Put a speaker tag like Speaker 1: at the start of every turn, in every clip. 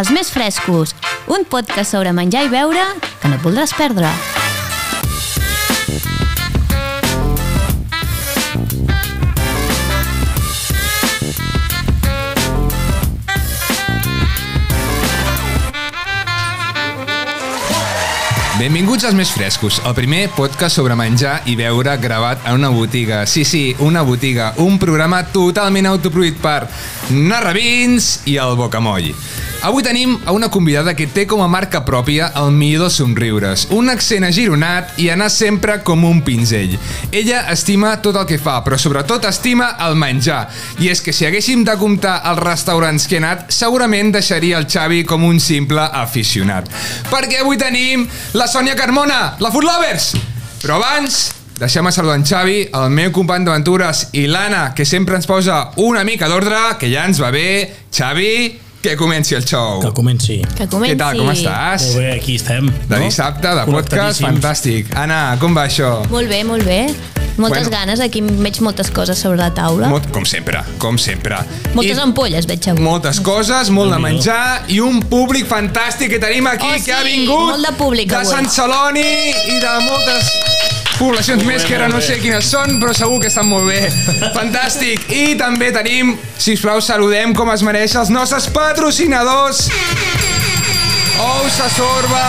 Speaker 1: Els més frescos, un podcast sobre menjar i beure que no et voldràs perdre.
Speaker 2: Benvinguts als Més Frescos, el primer podcast sobre menjar i beure gravat en una botiga. Sí, sí, una botiga, un programa totalment autoproduït per Narravins i el Bocamoll. Avui tenim a una convidada que té com a marca pròpia el millor dels somriures, un accent agironat i anar sempre com un pinzell. Ella estima tot el que fa, però sobretot estima el menjar. I és que si haguéssim de comptar els restaurants que he anat, segurament deixaria el Xavi com un simple aficionat. Perquè avui tenim la Sònia Carmona, la Food Lovers! Però abans, deixem a saludar en Xavi, el meu company d'aventures, i l'Anna, que sempre ens posa una mica d'ordre, que ja ens va bé. Xavi, que comenci el show.
Speaker 3: Que comenci.
Speaker 1: Que
Speaker 2: Què
Speaker 1: comenci.
Speaker 2: tal, com estàs?
Speaker 3: Molt bé, aquí estem.
Speaker 2: De dissabte, de podcast,
Speaker 3: Connectadíssims.
Speaker 2: fantàstic. Anna, com va això?
Speaker 1: Molt bé, molt bé. Moltes
Speaker 2: Bueno.
Speaker 1: ganes, aquí veig moltes coses sobre la taula.
Speaker 2: Molt, com sempre, com sempre.
Speaker 1: Moltes
Speaker 2: I
Speaker 1: ampolles veig avui.
Speaker 2: moltes coses, molt de menjar i un públic fantàstic que tenim aquí,
Speaker 1: Oh, sí,
Speaker 2: que ha vingut
Speaker 1: molt de públic
Speaker 2: de
Speaker 1: avui.
Speaker 2: Sant Celoni i de moltes poblacions més que ara no
Speaker 3: molt
Speaker 2: sé
Speaker 3: bé.
Speaker 2: quines són, però segur que estan molt bé. Fantàstic. I també tenim, si us plau, saludem com es mereix els nostres patrocinadors. Ous de sorba,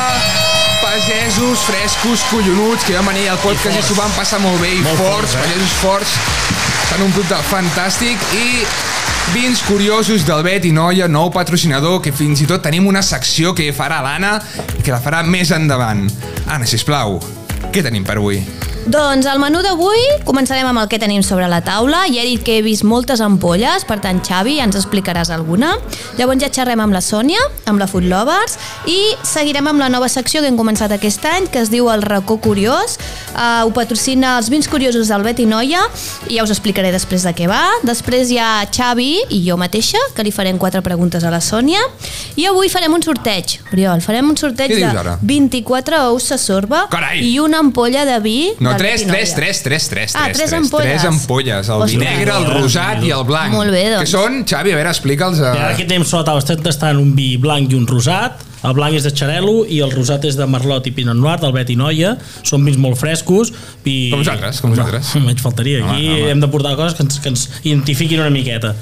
Speaker 2: pagesos frescos, collonuts, que van venir al podcast i s'ho van passar molt bé i
Speaker 3: Molt
Speaker 2: forts,
Speaker 3: forts, eh?
Speaker 2: pagesos forts, fan un producte fantàstic i vins curiosos del Bet i Noia, nou patrocinador, que fins i tot tenim una secció que farà l'Anna, que la farà més endavant. Anna, sisplau, què tenim per avui?
Speaker 1: Doncs el menú d'avui començarem amb el que tenim sobre la taula. Ja he dit que he vist moltes ampolles, per tant, Xavi, ja ens explicaràs alguna. Llavors ja xerrem amb la Sònia, amb la Food Lovers, i seguirem amb la nova secció que hem començat aquest any, que es diu El racó curiós. Uh, ho patrocina els vins curiosos del Bet i Noia, i ja us explicaré després de què va. Després hi ha Xavi i jo mateixa, que li farem quatre preguntes a la Sònia. I avui farem un sorteig, Oriol, farem un sorteig
Speaker 2: Què dius
Speaker 1: de
Speaker 2: ara?
Speaker 1: 24 ous de sorba
Speaker 2: Carai!
Speaker 1: i una ampolla de vi
Speaker 2: No,
Speaker 1: del
Speaker 2: tres,
Speaker 1: Pinot
Speaker 2: tres,
Speaker 1: Noir.
Speaker 2: tres, tres, tres,
Speaker 1: Ah,
Speaker 2: tres,
Speaker 1: tres
Speaker 2: tres,
Speaker 1: ampolles.
Speaker 2: tres ampolles. El vi
Speaker 1: Ostres.
Speaker 2: negre, el rosat i el blanc.
Speaker 1: Molt bé, doncs.
Speaker 2: Que són, Xavi, a veure, explica'ls.
Speaker 3: I
Speaker 2: A...
Speaker 3: ara que tenim sobre la taula estem tastant un vi blanc i un rosat. El blanc és de xarel·lo i el rosat és de merlot i pinot noir, del Bet i Noia. Són vins molt frescos. I...
Speaker 2: Com nosaltres, com nosaltres.
Speaker 3: No, ens faltaria. Aquí home,
Speaker 2: home.
Speaker 3: home. hem de portar coses que ens, que ens identifiquin una miqueta.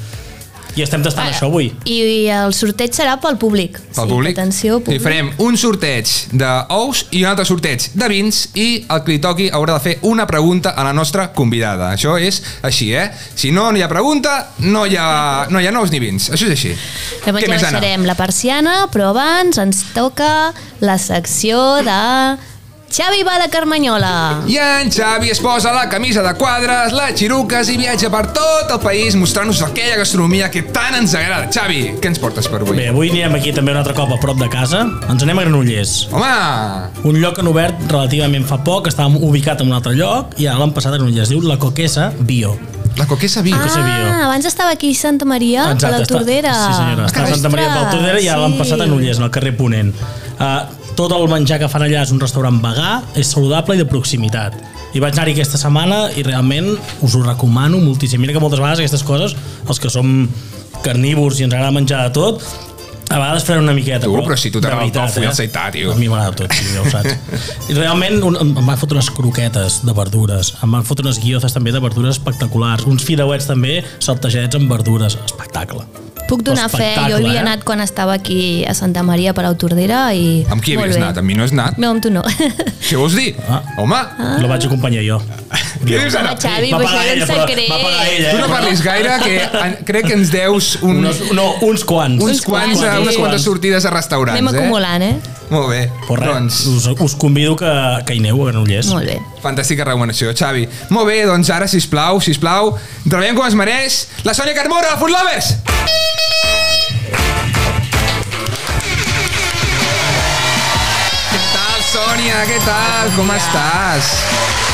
Speaker 3: I estem tastant això avui.
Speaker 1: I, el sorteig serà pel públic.
Speaker 2: pel públic.
Speaker 1: Atenció,
Speaker 2: I
Speaker 1: públic.
Speaker 2: farem un sorteig d'ous i un altre sorteig de vins i el que li toqui haurà de fer una pregunta a la nostra convidada. Això és així, eh? Si no, no hi ha pregunta, no hi ha, no hi ha nous ni vins. Això és així.
Speaker 1: Llavors ja baixarem la persiana, però abans ens toca la secció de... Xavi va de Carmanyola.
Speaker 2: I en Xavi es posa la camisa de quadres, la xiruques i viatja per tot el país mostrant-nos aquella gastronomia que tant ens agrada. Xavi, què ens portes per avui?
Speaker 3: Bé, avui anirem aquí també un altre cop a prop de casa. Ens anem a Granollers.
Speaker 2: Home!
Speaker 3: un lloc que han obert relativament fa poc, estava ubicat en un altre lloc i ara l'han passat a Granollers, es diu La Coquesa Bio.
Speaker 2: La coquesa viu.
Speaker 3: Ah, sabia.
Speaker 1: abans estava aquí a Santa Maria, a la
Speaker 3: està-
Speaker 1: Tordera.
Speaker 3: Sí, senyora, està a Santa Maria de la Tordera i ara l'han passat a Granollers, en el carrer Ponent. Uh, tot el menjar que fan allà és un restaurant vegà, és saludable i de proximitat. I vaig anar-hi aquesta setmana i realment us ho recomano moltíssim. Mira que moltes vegades aquestes coses, els que som carnívors i ens agrada menjar de tot, a vegades frena una miqueta.
Speaker 2: Tu, però si tu
Speaker 3: de
Speaker 2: t'agrada el
Speaker 3: veritat, eh?
Speaker 2: tofu i el seità, tio.
Speaker 3: A mi m'agrada tot, sí, ja ho saps. I realment un, em van fotre unes croquetes de verdures, em van fotre unes guiozes també de verdures espectaculars, uns fideuets també saltejats amb verdures. Espectacle.
Speaker 1: Puc donar fe, jo
Speaker 3: Espectacle,
Speaker 1: havia
Speaker 3: eh?
Speaker 1: anat quan estava aquí a Santa Maria per la Tordera i...
Speaker 2: Amb qui
Speaker 1: Molt
Speaker 2: havies
Speaker 1: bé.
Speaker 2: anat? Amb mi no has anat.
Speaker 1: No, amb tu no.
Speaker 2: Què vols dir?
Speaker 3: Ah.
Speaker 2: Home!
Speaker 3: Ah. La vaig acompanyar jo.
Speaker 2: Què dius ara?
Speaker 1: Home, Xavi, però això era un
Speaker 3: però-
Speaker 1: secret.
Speaker 3: va pagar ella.
Speaker 4: Eh,
Speaker 2: Tu no parlis gaire, que en- crec que ens deus uns,
Speaker 3: Unos, no, uns quants.
Speaker 2: uns quants,
Speaker 1: quants,
Speaker 2: eh, unes
Speaker 1: sí.
Speaker 2: quantes sortides a restaurants,
Speaker 1: Anem
Speaker 2: eh?
Speaker 1: acumulant, eh?
Speaker 2: Molt bé,
Speaker 3: Però res,
Speaker 2: doncs,
Speaker 3: us, us convido que, que hi aneu a Granollers.
Speaker 1: Molt bé.
Speaker 2: fantàstica recomanació, Xavi. Molt bé, doncs ara, sisplau, sisplau, treballem com es mereix la Sònia Carmona, de Food Lovers! Què tal, Sònia? Sònia, què tal? Com estàs?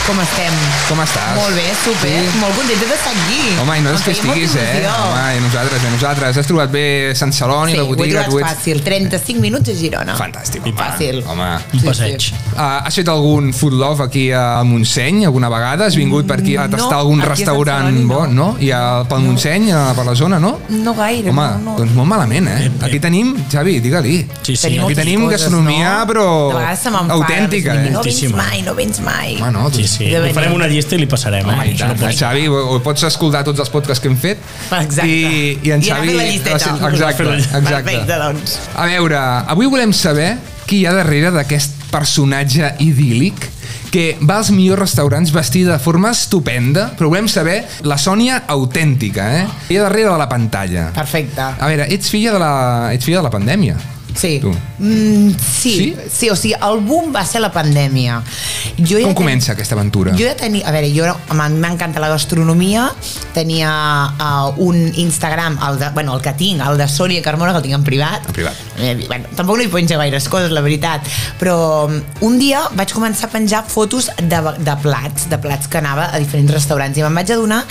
Speaker 4: Com estem?
Speaker 2: Com estàs?
Speaker 4: Molt bé, super.
Speaker 2: Sí?
Speaker 4: Sí. Molt contenta d'estar aquí.
Speaker 2: Home, i no
Speaker 4: Em
Speaker 2: és que
Speaker 4: feia molta
Speaker 2: estiguis, eh?
Speaker 4: il·lusió.
Speaker 2: Home, i nosaltres, i nosaltres. Has trobat bé Sant Celoni,
Speaker 4: sí,
Speaker 2: la
Speaker 4: ho he
Speaker 2: botiga,
Speaker 4: trobat fàcil. 35 minuts a Girona.
Speaker 2: Fantàstic, home.
Speaker 4: Fàcil.
Speaker 2: Home.
Speaker 3: Un
Speaker 4: Sí,
Speaker 3: passeig.
Speaker 4: sí.
Speaker 2: Uh, has fet algun food love aquí a Montseny alguna vegada? Has vingut per aquí a
Speaker 4: No,
Speaker 2: tastar algun
Speaker 4: aquí a Sant
Speaker 2: restaurant
Speaker 4: Celoni no.
Speaker 2: bo, no? I a, pel Montseny, a, per la zona, no?
Speaker 4: No gaire,
Speaker 2: Home,
Speaker 4: no, no.
Speaker 2: doncs molt malament, eh? Aquí tenim, Xavi, digue-li.
Speaker 3: Sí, sí.
Speaker 4: Tenim
Speaker 2: Aquí
Speaker 4: moltes
Speaker 2: tenim
Speaker 4: coses,
Speaker 2: gastronomia,
Speaker 4: no?
Speaker 2: però
Speaker 4: De vegades se m'enfada,
Speaker 2: autèntica,
Speaker 4: dic,
Speaker 2: eh?
Speaker 4: No vins
Speaker 3: Moltíssima.
Speaker 4: mai, no vins mai.
Speaker 2: Home, no, doncs
Speaker 3: Sí, sí.
Speaker 4: De
Speaker 3: Li
Speaker 4: venir.
Speaker 3: farem una llista i li passarem,
Speaker 2: Home,
Speaker 3: eh?
Speaker 2: i
Speaker 3: Això
Speaker 2: tant,
Speaker 3: no pot
Speaker 2: en
Speaker 3: ser.
Speaker 2: Xavi, ho, ho pots escoltar tots els podcasts que hem fet.
Speaker 4: Exacte.
Speaker 2: I, i en
Speaker 4: I anar
Speaker 2: Xavi...
Speaker 4: fent la llisteta.
Speaker 2: Exacte, exacte.
Speaker 4: Perfecte, doncs.
Speaker 2: A veure, avui volem saber qui hi ha darrere d'aquest personatge idíl·lic que va als millors restaurants vestida de forma estupenda, però volem saber la Sònia autèntica, eh? Hi ha darrere de la pantalla.
Speaker 4: Perfecte.
Speaker 2: A veure, ets filla de la, ets filla de la pandèmia.
Speaker 4: Sí.
Speaker 2: Tu.
Speaker 4: Mm, sí.
Speaker 2: Sí?
Speaker 4: sí. Sí, o sigui, el boom va ser la pandèmia. Jo ja
Speaker 2: Com
Speaker 4: ten-
Speaker 2: comença aquesta aventura?
Speaker 4: Jo ja tenia... A veure, jo era, a mi m'encanta la gastronomia, tenia uh, un Instagram, el de, bueno, el que tinc, el de Sònia Carmona, que el tinc en privat.
Speaker 2: En privat.
Speaker 4: Eh, bueno, tampoc no hi penja gaires coses, la veritat, però um, un dia vaig començar a penjar fotos de, de plats, de plats que anava a diferents restaurants, i me'n vaig adonar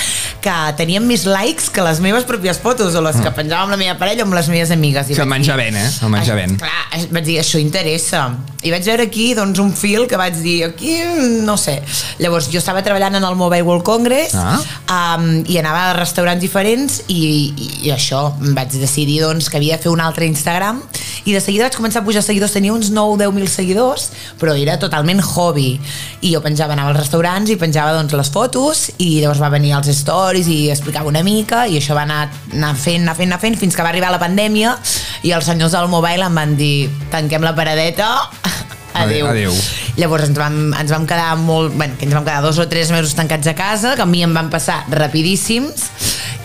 Speaker 4: que tenien més likes que les meves pròpies fotos, o les
Speaker 2: Mm.
Speaker 4: que penjava amb la meva parella o amb les meves amigues. I
Speaker 2: Sí, el
Speaker 4: vaig
Speaker 2: menjar
Speaker 4: dir,
Speaker 2: ben, eh? El menjar
Speaker 4: "Ai,
Speaker 2: ben.
Speaker 4: clar, es- vaig dir, això interessa. I vaig veure aquí doncs, un fil que vaig dir, aquí mm, no sé. Llavors, jo estava treballant en el Mobile World Congress
Speaker 2: Ah.
Speaker 4: um, i anava a restaurants diferents i, i, i això, vaig decidir doncs, que havia de fer un altre Instagram i de seguida vaig començar a pujar seguidors, tenia uns 9-10.000 seguidors, però era totalment hobby. I jo penjava, anava als restaurants i penjava doncs, les fotos i llavors va venir els stories i explicava una mica i això va anar, anar fent, anar fent, anar fent, fins que va arribar la pandèmia i els senyors del Mobile em van dir tanquem la paradeta,
Speaker 2: Adéu.
Speaker 4: adéu.
Speaker 2: Adéu.
Speaker 4: Llavors ens vam, ens vam quedar molt... Bueno, que ens vam quedar dos o tres mesos tancats a casa, que a mi em van passar rapidíssims,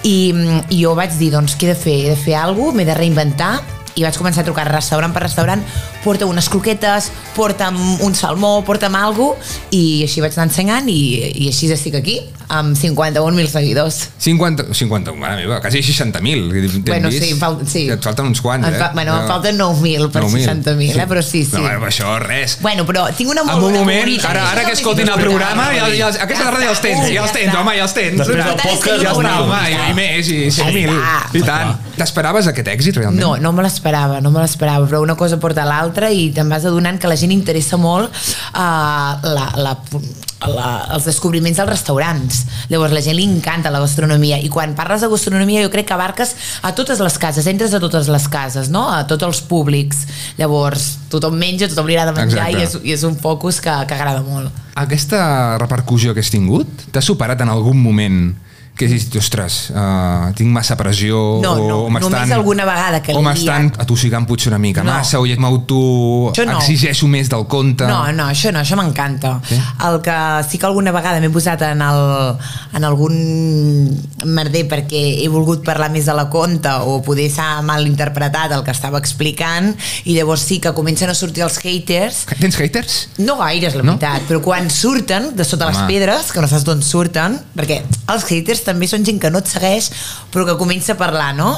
Speaker 4: i, i jo vaig dir, doncs, què he de fer? He de fer alguna cosa? M'he de reinventar? i vaig començar a trucar restaurant per restaurant, porta unes croquetes, porta'm un salmó, porta'm algo i així vaig anar ensenyant i, i així estic aquí, amb 51.000 seguidors.
Speaker 2: 50, 50, mare meva, quasi 60.000. que t'hem
Speaker 4: Bueno,
Speaker 2: vist.
Speaker 4: sí, em fal- sí.
Speaker 2: Et falten uns quants,
Speaker 4: Em fa-
Speaker 2: eh?
Speaker 4: bueno, em falten 9.000 per 60.000, eh, però sí, sí.
Speaker 2: No, bueno, això, res.
Speaker 4: Bueno, però tinc una molt
Speaker 2: En un
Speaker 4: bona
Speaker 2: moment,
Speaker 4: comunitat.
Speaker 2: ara, ara
Speaker 4: Això
Speaker 2: que
Speaker 4: també
Speaker 2: escoltin el
Speaker 4: tinc una
Speaker 2: programa, ja,
Speaker 4: bona
Speaker 2: ja,
Speaker 4: comunitat.
Speaker 2: aquesta tarda ja els tens,
Speaker 4: Un,
Speaker 2: ja els tens,
Speaker 4: està.
Speaker 2: home, ja els tens.
Speaker 3: Després del
Speaker 2: Total, ja
Speaker 3: podcast ja
Speaker 2: està,
Speaker 3: ho
Speaker 2: home,
Speaker 3: veureu.
Speaker 2: i, i més, i
Speaker 4: Ja
Speaker 2: 100.000.
Speaker 4: està.
Speaker 2: I tant. T'esperaves aquest èxit, realment?
Speaker 4: No, no me l'esperava, no me l'esperava, però una cosa porta a l'altra i te'n vas adonant que la gent interessa molt uh, la, la, la, els descobriments dels restaurants. Llavors, la gent li encanta la gastronomia i quan parles de gastronomia jo crec que abarques a totes les cases, entres a totes les cases, no? a tots els públics. Llavors, tothom menja, tothom li agrada menjar i és,
Speaker 2: Exacte.
Speaker 4: i és un focus que, que agrada molt.
Speaker 2: Aquesta repercussió que has tingut, t'ha superat en algun moment que has dit, ostres, uh, tinc massa pressió
Speaker 4: No,
Speaker 2: o,
Speaker 4: no,
Speaker 2: o m'estan...
Speaker 4: només alguna vegada que
Speaker 2: O
Speaker 4: l'he
Speaker 2: m'estan atossegant potser una mica
Speaker 4: No.
Speaker 2: massa o m'auto
Speaker 4: Això no.
Speaker 2: exigeixo més del compte.
Speaker 4: No, no, això no, això m'encanta.
Speaker 2: Sí?
Speaker 4: Sí? El que sí que alguna vegada m'he posat en, el, en algun merder perquè he volgut parlar més de la conta o poder s'ha mal interpretat el que estava explicant i llavors sí que comencen a sortir els haters
Speaker 2: Tens haters?
Speaker 4: no gaires, la
Speaker 2: No?
Speaker 4: veritat, però quan surten de sota
Speaker 2: Home.
Speaker 4: les pedres, que no saps d'on surten, perquè els haters també són gent que no et segueix, però que comença a parlar, no?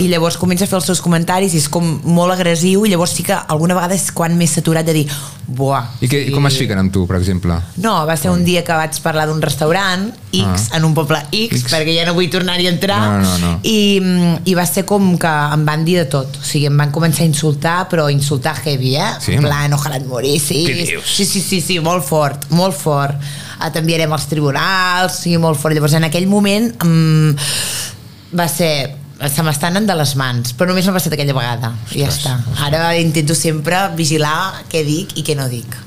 Speaker 4: I llavors comença a fer els seus comentaris i és com molt agressiu, i llavors sí que alguna vegada és quan m'he saturat de dir, buah...
Speaker 2: I, que, I com es fiquen amb tu, per exemple?
Speaker 4: No, va ser un dia que vaig parlar d'un restaurant X, en un poble X,
Speaker 2: Ah. X.
Speaker 4: perquè ja no vull tornar-hi a entrar
Speaker 2: No, no, no.
Speaker 4: I, mm, i va ser com que em van dir de tot o sigui, em van començar a insultar, però insultar heavy, eh?
Speaker 2: Sí,
Speaker 4: en
Speaker 2: no?
Speaker 4: plan, ojalà et morissis
Speaker 2: Què dius?
Speaker 4: sí, sí, sí, sí, molt fort, molt fort Ah, t'enviarem als tribunals sí, molt fort, llavors en aquell moment mm, va ser se m'estan anant de les mans, però només m'ha passat aquella vegada, i ja està. Ara intento sempre vigilar què dic i què no dic.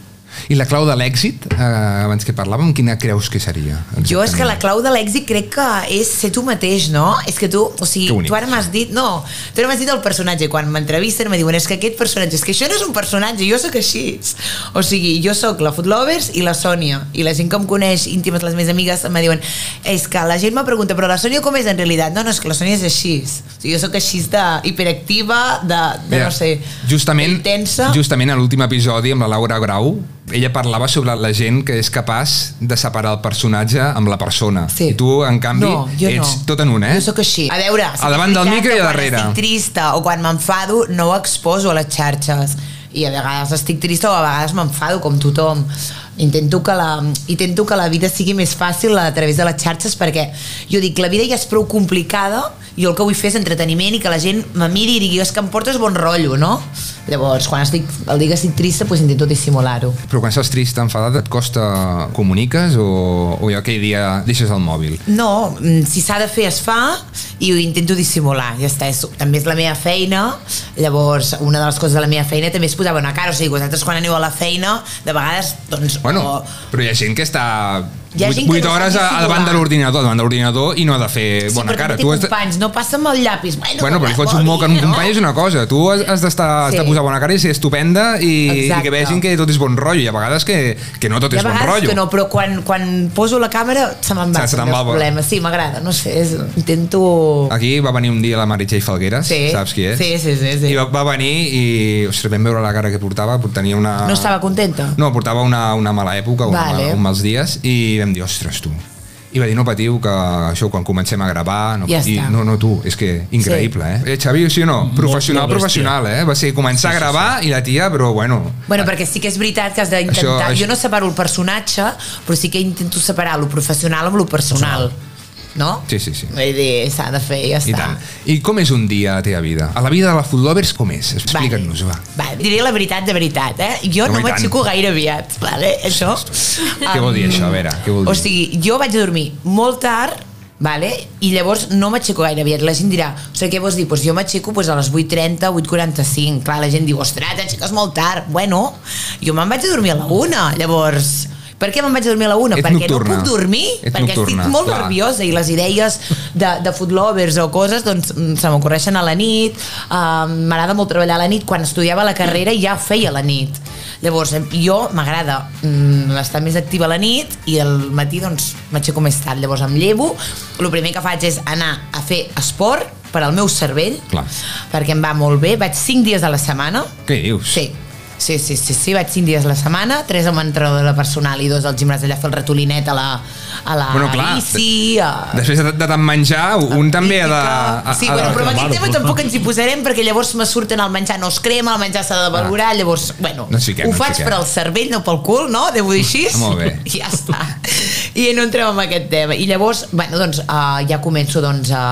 Speaker 2: I la clau de l'èxit, eh, abans que parlàvem, quina creus que seria?
Speaker 4: Jo és que la
Speaker 2: exactament?
Speaker 4: clau de l'èxit crec que és ser tu mateix, no? És que tu, o sigui,
Speaker 2: Que bonic.
Speaker 4: tu ara m'has dit, no, tu ara m'has dit el personatge, quan m'entrevisten me diuen, és que aquest personatge, és que això no és un personatge, jo sóc així. O sigui, jo sóc la Food Lovers i la Sònia, i la gent que em coneix íntimes, les meves amigues, em diuen, és que la gent me pregunta, però la Sònia com és en realitat? No, no, és que la Sònia és així. O sigui, jo sóc així de hiperactiva, de, de
Speaker 2: Mira,
Speaker 4: no sé,
Speaker 2: justament,
Speaker 4: intensa.
Speaker 2: Justament a l'últim episodi amb la Laura Grau, ella parlava sobre la gent que és capaç de separar el personatge amb la persona.
Speaker 4: Sí.
Speaker 2: I tu, en canvi,
Speaker 4: No, jo
Speaker 2: ets
Speaker 4: no.
Speaker 2: tot en un, eh?
Speaker 4: Jo sóc així. A veure,
Speaker 2: A davant del
Speaker 4: és veritat
Speaker 2: micro i
Speaker 4: que
Speaker 2: a
Speaker 4: quan
Speaker 2: darrere.
Speaker 4: Estic trista o quan m'enfado no ho exposo a les xarxes. i a vegades estic trista o a vegades m'enfado com tothom intento que, la, intento que la vida sigui més fàcil a través de les xarxes perquè jo dic, la vida ja és prou complicada jo el que vull fer és entreteniment i que la gent me miri i digui, és que em portes bon rotllo, no? Llavors, quan estic, el dia que estic trista, doncs intento dissimular-ho.
Speaker 2: Però quan estàs trist, enfadat, et costa... Comuniques o, o ja aquell dia deixes el mòbil?
Speaker 4: No, mm, si s'ha de fer es fa i ho intento dissimular, ja està, és, també és la meva feina, llavors una de les coses de la meva feina també és posar bona cara, o sigui, vosaltres quan aneu a la feina, de vegades, doncs...
Speaker 2: Bueno,
Speaker 4: o,
Speaker 2: però hi ha gent que està
Speaker 4: Hi ha
Speaker 2: 8,
Speaker 4: gent que no sap
Speaker 2: hores a,
Speaker 4: dissimular.
Speaker 2: a davant de l'ordinador, davant de l'ordinador i no ha de fer
Speaker 4: sí,
Speaker 2: bona
Speaker 4: però
Speaker 2: cara.
Speaker 4: també té
Speaker 2: has de-
Speaker 4: companys, Eh, no passa amb el llapis. Bueno,
Speaker 2: Bueno, però li
Speaker 4: com
Speaker 2: fots
Speaker 4: vol
Speaker 2: un moc en un
Speaker 4: dir,
Speaker 2: company és una cosa. Tu has, has d'estar has de
Speaker 4: Sí.
Speaker 2: posar bona cara i ser estupenda i, i
Speaker 4: Exacte.
Speaker 2: que vegin que tot és bon rotllo. I a vegades que, que no tot
Speaker 4: Hi
Speaker 2: és
Speaker 4: ha
Speaker 2: bon
Speaker 4: vegades
Speaker 2: rotllo.
Speaker 4: que no, però quan, quan poso la càmera se me'n va.
Speaker 2: Se- se te'n
Speaker 4: també
Speaker 2: va,
Speaker 4: el
Speaker 2: va.
Speaker 4: problema. Sí, m'agrada, no sé, és, intento...
Speaker 2: Aquí va venir un dia la Meritxell Falgueras,
Speaker 4: Sí.
Speaker 2: saps qui és?
Speaker 4: Sí, sí, sí, sí.
Speaker 2: I va, va venir i, ostres, vam veure la cara que portava, tenia una...
Speaker 4: No estava contenta?
Speaker 2: No, portava una, una mala època, una,
Speaker 4: Vale.
Speaker 2: mala, un mals dies, i vam dir, ostres, tu. I va dir, no patiu, que això, quan comencem a gravar... No,
Speaker 4: Ja
Speaker 2: i,
Speaker 4: està.
Speaker 2: no, no, tu, és que increïble, sí. eh? Eh, Xavi, sí o no? Professional,
Speaker 3: molt bèstia.
Speaker 2: professional, eh? Va ser començar a gravar i la tia, però bueno...
Speaker 4: Bueno, perquè sí que és veritat que has
Speaker 2: Això-
Speaker 4: d'intentar...
Speaker 2: això-
Speaker 4: Jo no separo el personatge, però sí que intento separar lo professional amb lo personal. No?
Speaker 2: Sí, sí, sí.
Speaker 4: Vull dir, s'ha de fer i ja
Speaker 2: I
Speaker 4: està.
Speaker 2: tant. I com és un dia a la teva vida? A la vida de la Food Lovers, com és? Explica'ns, va.
Speaker 4: Va, diré la veritat de veritat, eh? Jo
Speaker 2: No,
Speaker 4: no,
Speaker 2: i
Speaker 4: no
Speaker 2: tant.
Speaker 4: m'aixeco gaire aviat, vale? Això.
Speaker 2: Què vol dir això? A veure, què vol dir?
Speaker 4: Um, O sigui, jo vaig a dormir molt tard, vale? i llavors no m'aixeco gaire aviat. La gent dirà, o sigui, què vols dir? Doncs pues jo m'aixeco pues, a les 8.30, 8.45. Clar, la gent diu, ostres, t'aixeques molt tard. Bueno, jo me'n vaig a dormir a la una, llavors... Per què me'n vaig a dormir a la una?
Speaker 2: Ets
Speaker 4: perquè
Speaker 2: nocturna.
Speaker 4: no puc dormir,
Speaker 2: Ets
Speaker 4: perquè
Speaker 2: nocturna,
Speaker 4: estic molt
Speaker 2: clar.
Speaker 4: nerviosa i les idees de, de food lovers o coses doncs, mm, se m'ocorreixen a la nit, uh, m'agrada molt treballar a la nit, quan estudiava la carrera ja ho feia a la nit. Llavors, em- jo m'agrada mm, estar més activa a la nit i al matí doncs m'aixeco més tard. Llavors em llevo, el primer que faig és anar a fer esport per al meu cervell,
Speaker 2: Clar.
Speaker 4: perquè em va molt bé. Vaig 5 dies a la setmana,
Speaker 2: Què dius?
Speaker 4: Sí. Sí, sí, sí, sí, vaig 5 dies a la setmana, 3 amb entrenadora personal i 2 al gimnàs allà a fer el ratolinet a la, a la
Speaker 2: Bueno, clar,
Speaker 4: bici... A...
Speaker 2: Després de, de tant menjar, un també ha de...
Speaker 4: Física.
Speaker 2: ha-
Speaker 4: Sí,
Speaker 2: ha
Speaker 4: bueno,
Speaker 2: de-
Speaker 4: però amb
Speaker 3: reclamar-ho,
Speaker 4: aquest tema
Speaker 3: clar.
Speaker 4: tampoc ens hi posarem perquè llavors me surten el menjar no es crema, el menjar s'ha de valorar, llavors, bueno,
Speaker 2: Ah. No ens fiquem,
Speaker 4: ho
Speaker 2: no ens
Speaker 4: faig
Speaker 2: fiquem.
Speaker 4: per al cervell, no pel cul, no? Devo dir així?
Speaker 2: Molt bé.
Speaker 4: I ja està. I no entrem en aquest tema. I llavors, bueno, doncs, uh, ja començo, doncs, a,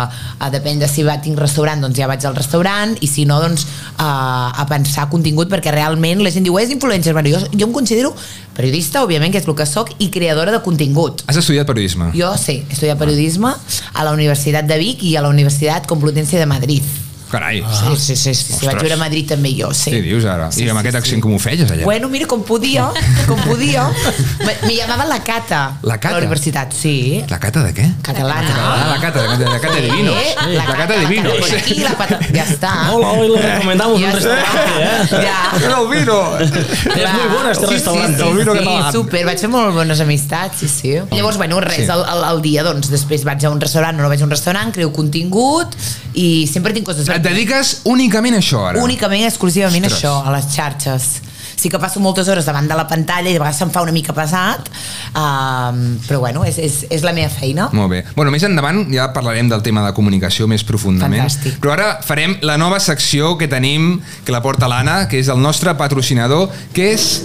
Speaker 4: a depèn de si va, tinc restaurant, doncs ja vaig al restaurant, i si no, doncs, uh, a pensar contingut, perquè realment la gent diu, és influencer, bueno, jo, jo em considero periodista, òbviament, que és el que sóc, i creadora de contingut.
Speaker 2: Has estudiat periodisme?
Speaker 4: Yo sí, estudié periodismo a la Universidad de Vic y a la Universidad Complutense de Madrid.
Speaker 2: Carai.
Speaker 4: Sí, sí, sí, sí,
Speaker 2: Ah.
Speaker 4: sí
Speaker 2: Ostres.
Speaker 4: vaig viure a Madrid també jo, sí.
Speaker 2: Què dius ara? I amb aquest accent com ho feies allà?
Speaker 4: Bueno, mira, com podia, com podia. Me, me llamaven la Cata.
Speaker 2: La Cata?
Speaker 4: A la universitat, sí.
Speaker 2: La cata de què?
Speaker 4: Catalana.
Speaker 2: Ah, la cata, la cata, la cata de vinos. La
Speaker 4: Sí,
Speaker 2: cata de
Speaker 4: Eh, La cata
Speaker 2: vinos.
Speaker 4: per aquí, la pata... Ja està.
Speaker 3: Hola, hoy lo recomendamos
Speaker 4: Ah.
Speaker 3: un
Speaker 4: Eh. Ja
Speaker 3: restaurante,
Speaker 4: està.
Speaker 3: eh?
Speaker 4: Ja.
Speaker 2: El vino!
Speaker 3: És
Speaker 4: Clar.
Speaker 3: muy bueno este
Speaker 4: Sí,
Speaker 3: restaurante.
Speaker 4: Sí,
Speaker 2: El
Speaker 4: sí,
Speaker 2: vino
Speaker 4: sí,
Speaker 2: català.
Speaker 4: sí super, vaig fer molt bones amistats, sí, sí. Llavors, bueno,
Speaker 2: Ah, Sí.
Speaker 4: res, sí. el, el, el, dia, doncs, després vaig a un restaurant o no vaig a un restaurant, creo contingut i sempre tinc coses
Speaker 2: Et dediques únicament a això, ara?
Speaker 4: únicament i exclusivament
Speaker 2: Ostres.
Speaker 4: Ostres. això, a les xarxes. Sí que passo moltes hores davant de la pantalla i de vegades se'm fa una mica pesat, um, però bueno, és, és, és la meva feina.
Speaker 2: Molt bé. Bueno, més endavant ja parlarem del tema de comunicació més profundament.
Speaker 4: Fantàstic.
Speaker 2: Però ara farem la nova secció que tenim, que la porta l'Anna, que és el nostre patrocinador, que és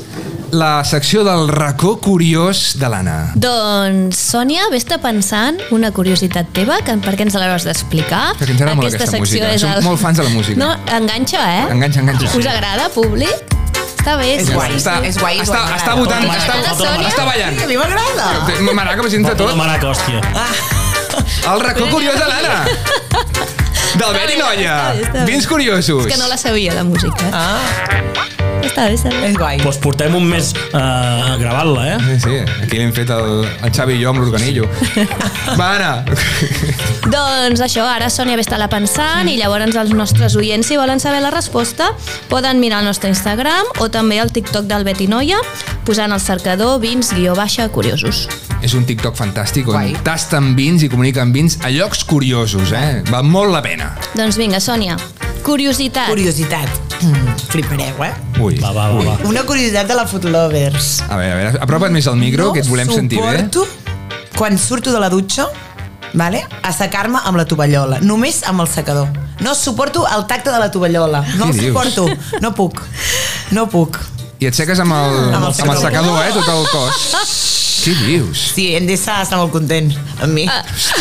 Speaker 2: la secció del racó curiós de l'Anna.
Speaker 1: Doncs, Sònia, vés-te pensant una curiositat teva, que perquè ens l'hauràs d'explicar.
Speaker 2: Perquè ens agrada molt aquesta
Speaker 1: secció
Speaker 2: música.
Speaker 1: és
Speaker 2: Som molt fans de la música.
Speaker 1: No, enganxa, eh?
Speaker 2: Enganxa, enganxa.
Speaker 1: Us agrada, públic? Està bé.
Speaker 4: És
Speaker 1: sí,
Speaker 4: guai,
Speaker 1: sí, sí.
Speaker 2: està,
Speaker 4: és guai, és
Speaker 2: està,
Speaker 4: guai,
Speaker 2: està
Speaker 4: m'agrada.
Speaker 2: votant,
Speaker 3: Tota
Speaker 2: està,
Speaker 1: m'agrada, tota
Speaker 2: està
Speaker 1: m'agrada.
Speaker 4: Sí,
Speaker 2: ballant.
Speaker 4: a mi m'agrada!
Speaker 2: M'agrada que presenta tot.
Speaker 3: Tota maraca, hòstia.
Speaker 2: El racó curiós de l'Anna. D'Albert i Noia.
Speaker 1: Està bé, està bé.
Speaker 2: Vins curiosos.
Speaker 1: És que no la sabia, la música.
Speaker 4: Ah,
Speaker 1: Està bé, està bé.
Speaker 4: és guai.
Speaker 3: Doncs portem un mes eh, gravant-la, eh?
Speaker 2: Sí, sí, aquí l'hem fet el, el Xavi i jo amb l'organillo. Va, Anna.
Speaker 1: Doncs això, ara Sònia ve estar-la pensant
Speaker 2: Mm.
Speaker 1: i llavors els nostres oients, si volen saber la resposta, poden mirar el nostre Instagram o també el TikTok del Beti Noia, posant al cercador vins guió baixa curiosos.
Speaker 2: És un TikTok fantàstic on
Speaker 4: Guai.
Speaker 2: tasten vins i comuniquen vins a llocs curiosos, eh? Val molt la pena.
Speaker 1: Doncs vinga, Sònia, curiositat.
Speaker 4: Curiositat. Mm, flipareu, eh?
Speaker 2: Ui.
Speaker 3: Va, va, va. va.
Speaker 4: Una curiositat de la Food Lovers.
Speaker 2: A veure, a veure, apropa't més al micro, que et volem sentir bé.
Speaker 4: suporto quan surto de la dutxa vale? a secar-me amb la tovallola, només amb el secador. No suporto el tacte de la tovallola. No
Speaker 2: Què
Speaker 4: el
Speaker 2: dius?
Speaker 4: suporto, no puc. No puc.
Speaker 2: I et seques amb el,
Speaker 4: Amb el
Speaker 2: amb el
Speaker 4: secador.
Speaker 2: secador, eh, tot el cos. Què dius?
Speaker 4: Sí, Endesa està molt content amb mi.
Speaker 1: Ah.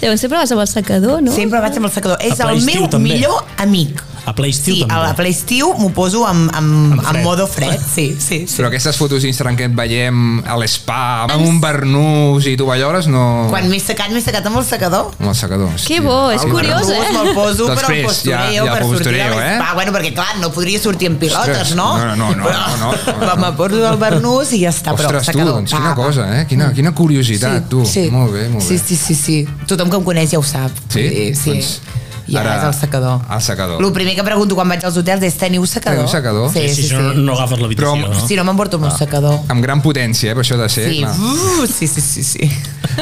Speaker 1: Llavors sempre vas amb el secador, no?
Speaker 4: Sempre vaig amb el secador. És
Speaker 3: A
Speaker 4: el
Speaker 3: Playstiu
Speaker 4: meu
Speaker 3: també.
Speaker 4: millor amic.
Speaker 3: A PlayStation
Speaker 4: Sí,
Speaker 3: també.
Speaker 4: a la Playstiu m'ho poso amb, amb,
Speaker 3: Amb
Speaker 4: amb,
Speaker 3: fred.
Speaker 4: modo fred. Sí, sí, sí.
Speaker 2: Però aquestes fotos d'Instagram que et veiem a l'espa, amb un barnús i tovalloles, no...
Speaker 4: Quan m'he secat, m'he secat amb el secador.
Speaker 2: Amb el secador. hòstia.
Speaker 1: Que bo, és
Speaker 2: Val,
Speaker 1: curiós,
Speaker 2: barnús.
Speaker 1: eh?
Speaker 4: Rus, me'l poso, però
Speaker 2: Després,
Speaker 4: em postureo
Speaker 2: Doncs ja- ja
Speaker 4: per sortir
Speaker 2: postureo,
Speaker 4: de
Speaker 2: eh?
Speaker 4: l'espa. Bueno, perquè clar, no podria sortir amb pilotes,
Speaker 2: Ostres,
Speaker 4: no?
Speaker 2: no, no, no,
Speaker 4: Però-
Speaker 2: no, no, no.
Speaker 4: Va, me poso el barnús i ja està, Ah, però
Speaker 2: Ostres, tu,
Speaker 4: secador.
Speaker 2: doncs,
Speaker 4: va,
Speaker 2: quina
Speaker 4: va.
Speaker 2: cosa, eh? Quina, quina curiositat, tu. Molt bé, molt bé.
Speaker 4: Sí, sí, sí, sí. Tothom que em coneix ja ho sap.
Speaker 2: Sí?
Speaker 4: Eh, sí.
Speaker 2: Doncs,
Speaker 4: I ara,
Speaker 2: ara
Speaker 4: és el secador.
Speaker 2: al secador.
Speaker 4: El primer que pregunto quan vaig als hotels és teniu secador?
Speaker 2: Teniu secador? Ah.
Speaker 4: Sí, sí, sí.
Speaker 3: si no, no agafes l'habitació,
Speaker 2: Però-
Speaker 3: no?
Speaker 4: Si no, m'emporto amb un secador.
Speaker 2: Amb gran potència, eh, per això de ser.
Speaker 4: Sí,
Speaker 2: clar.
Speaker 4: uh, sí, sí, sí, sí.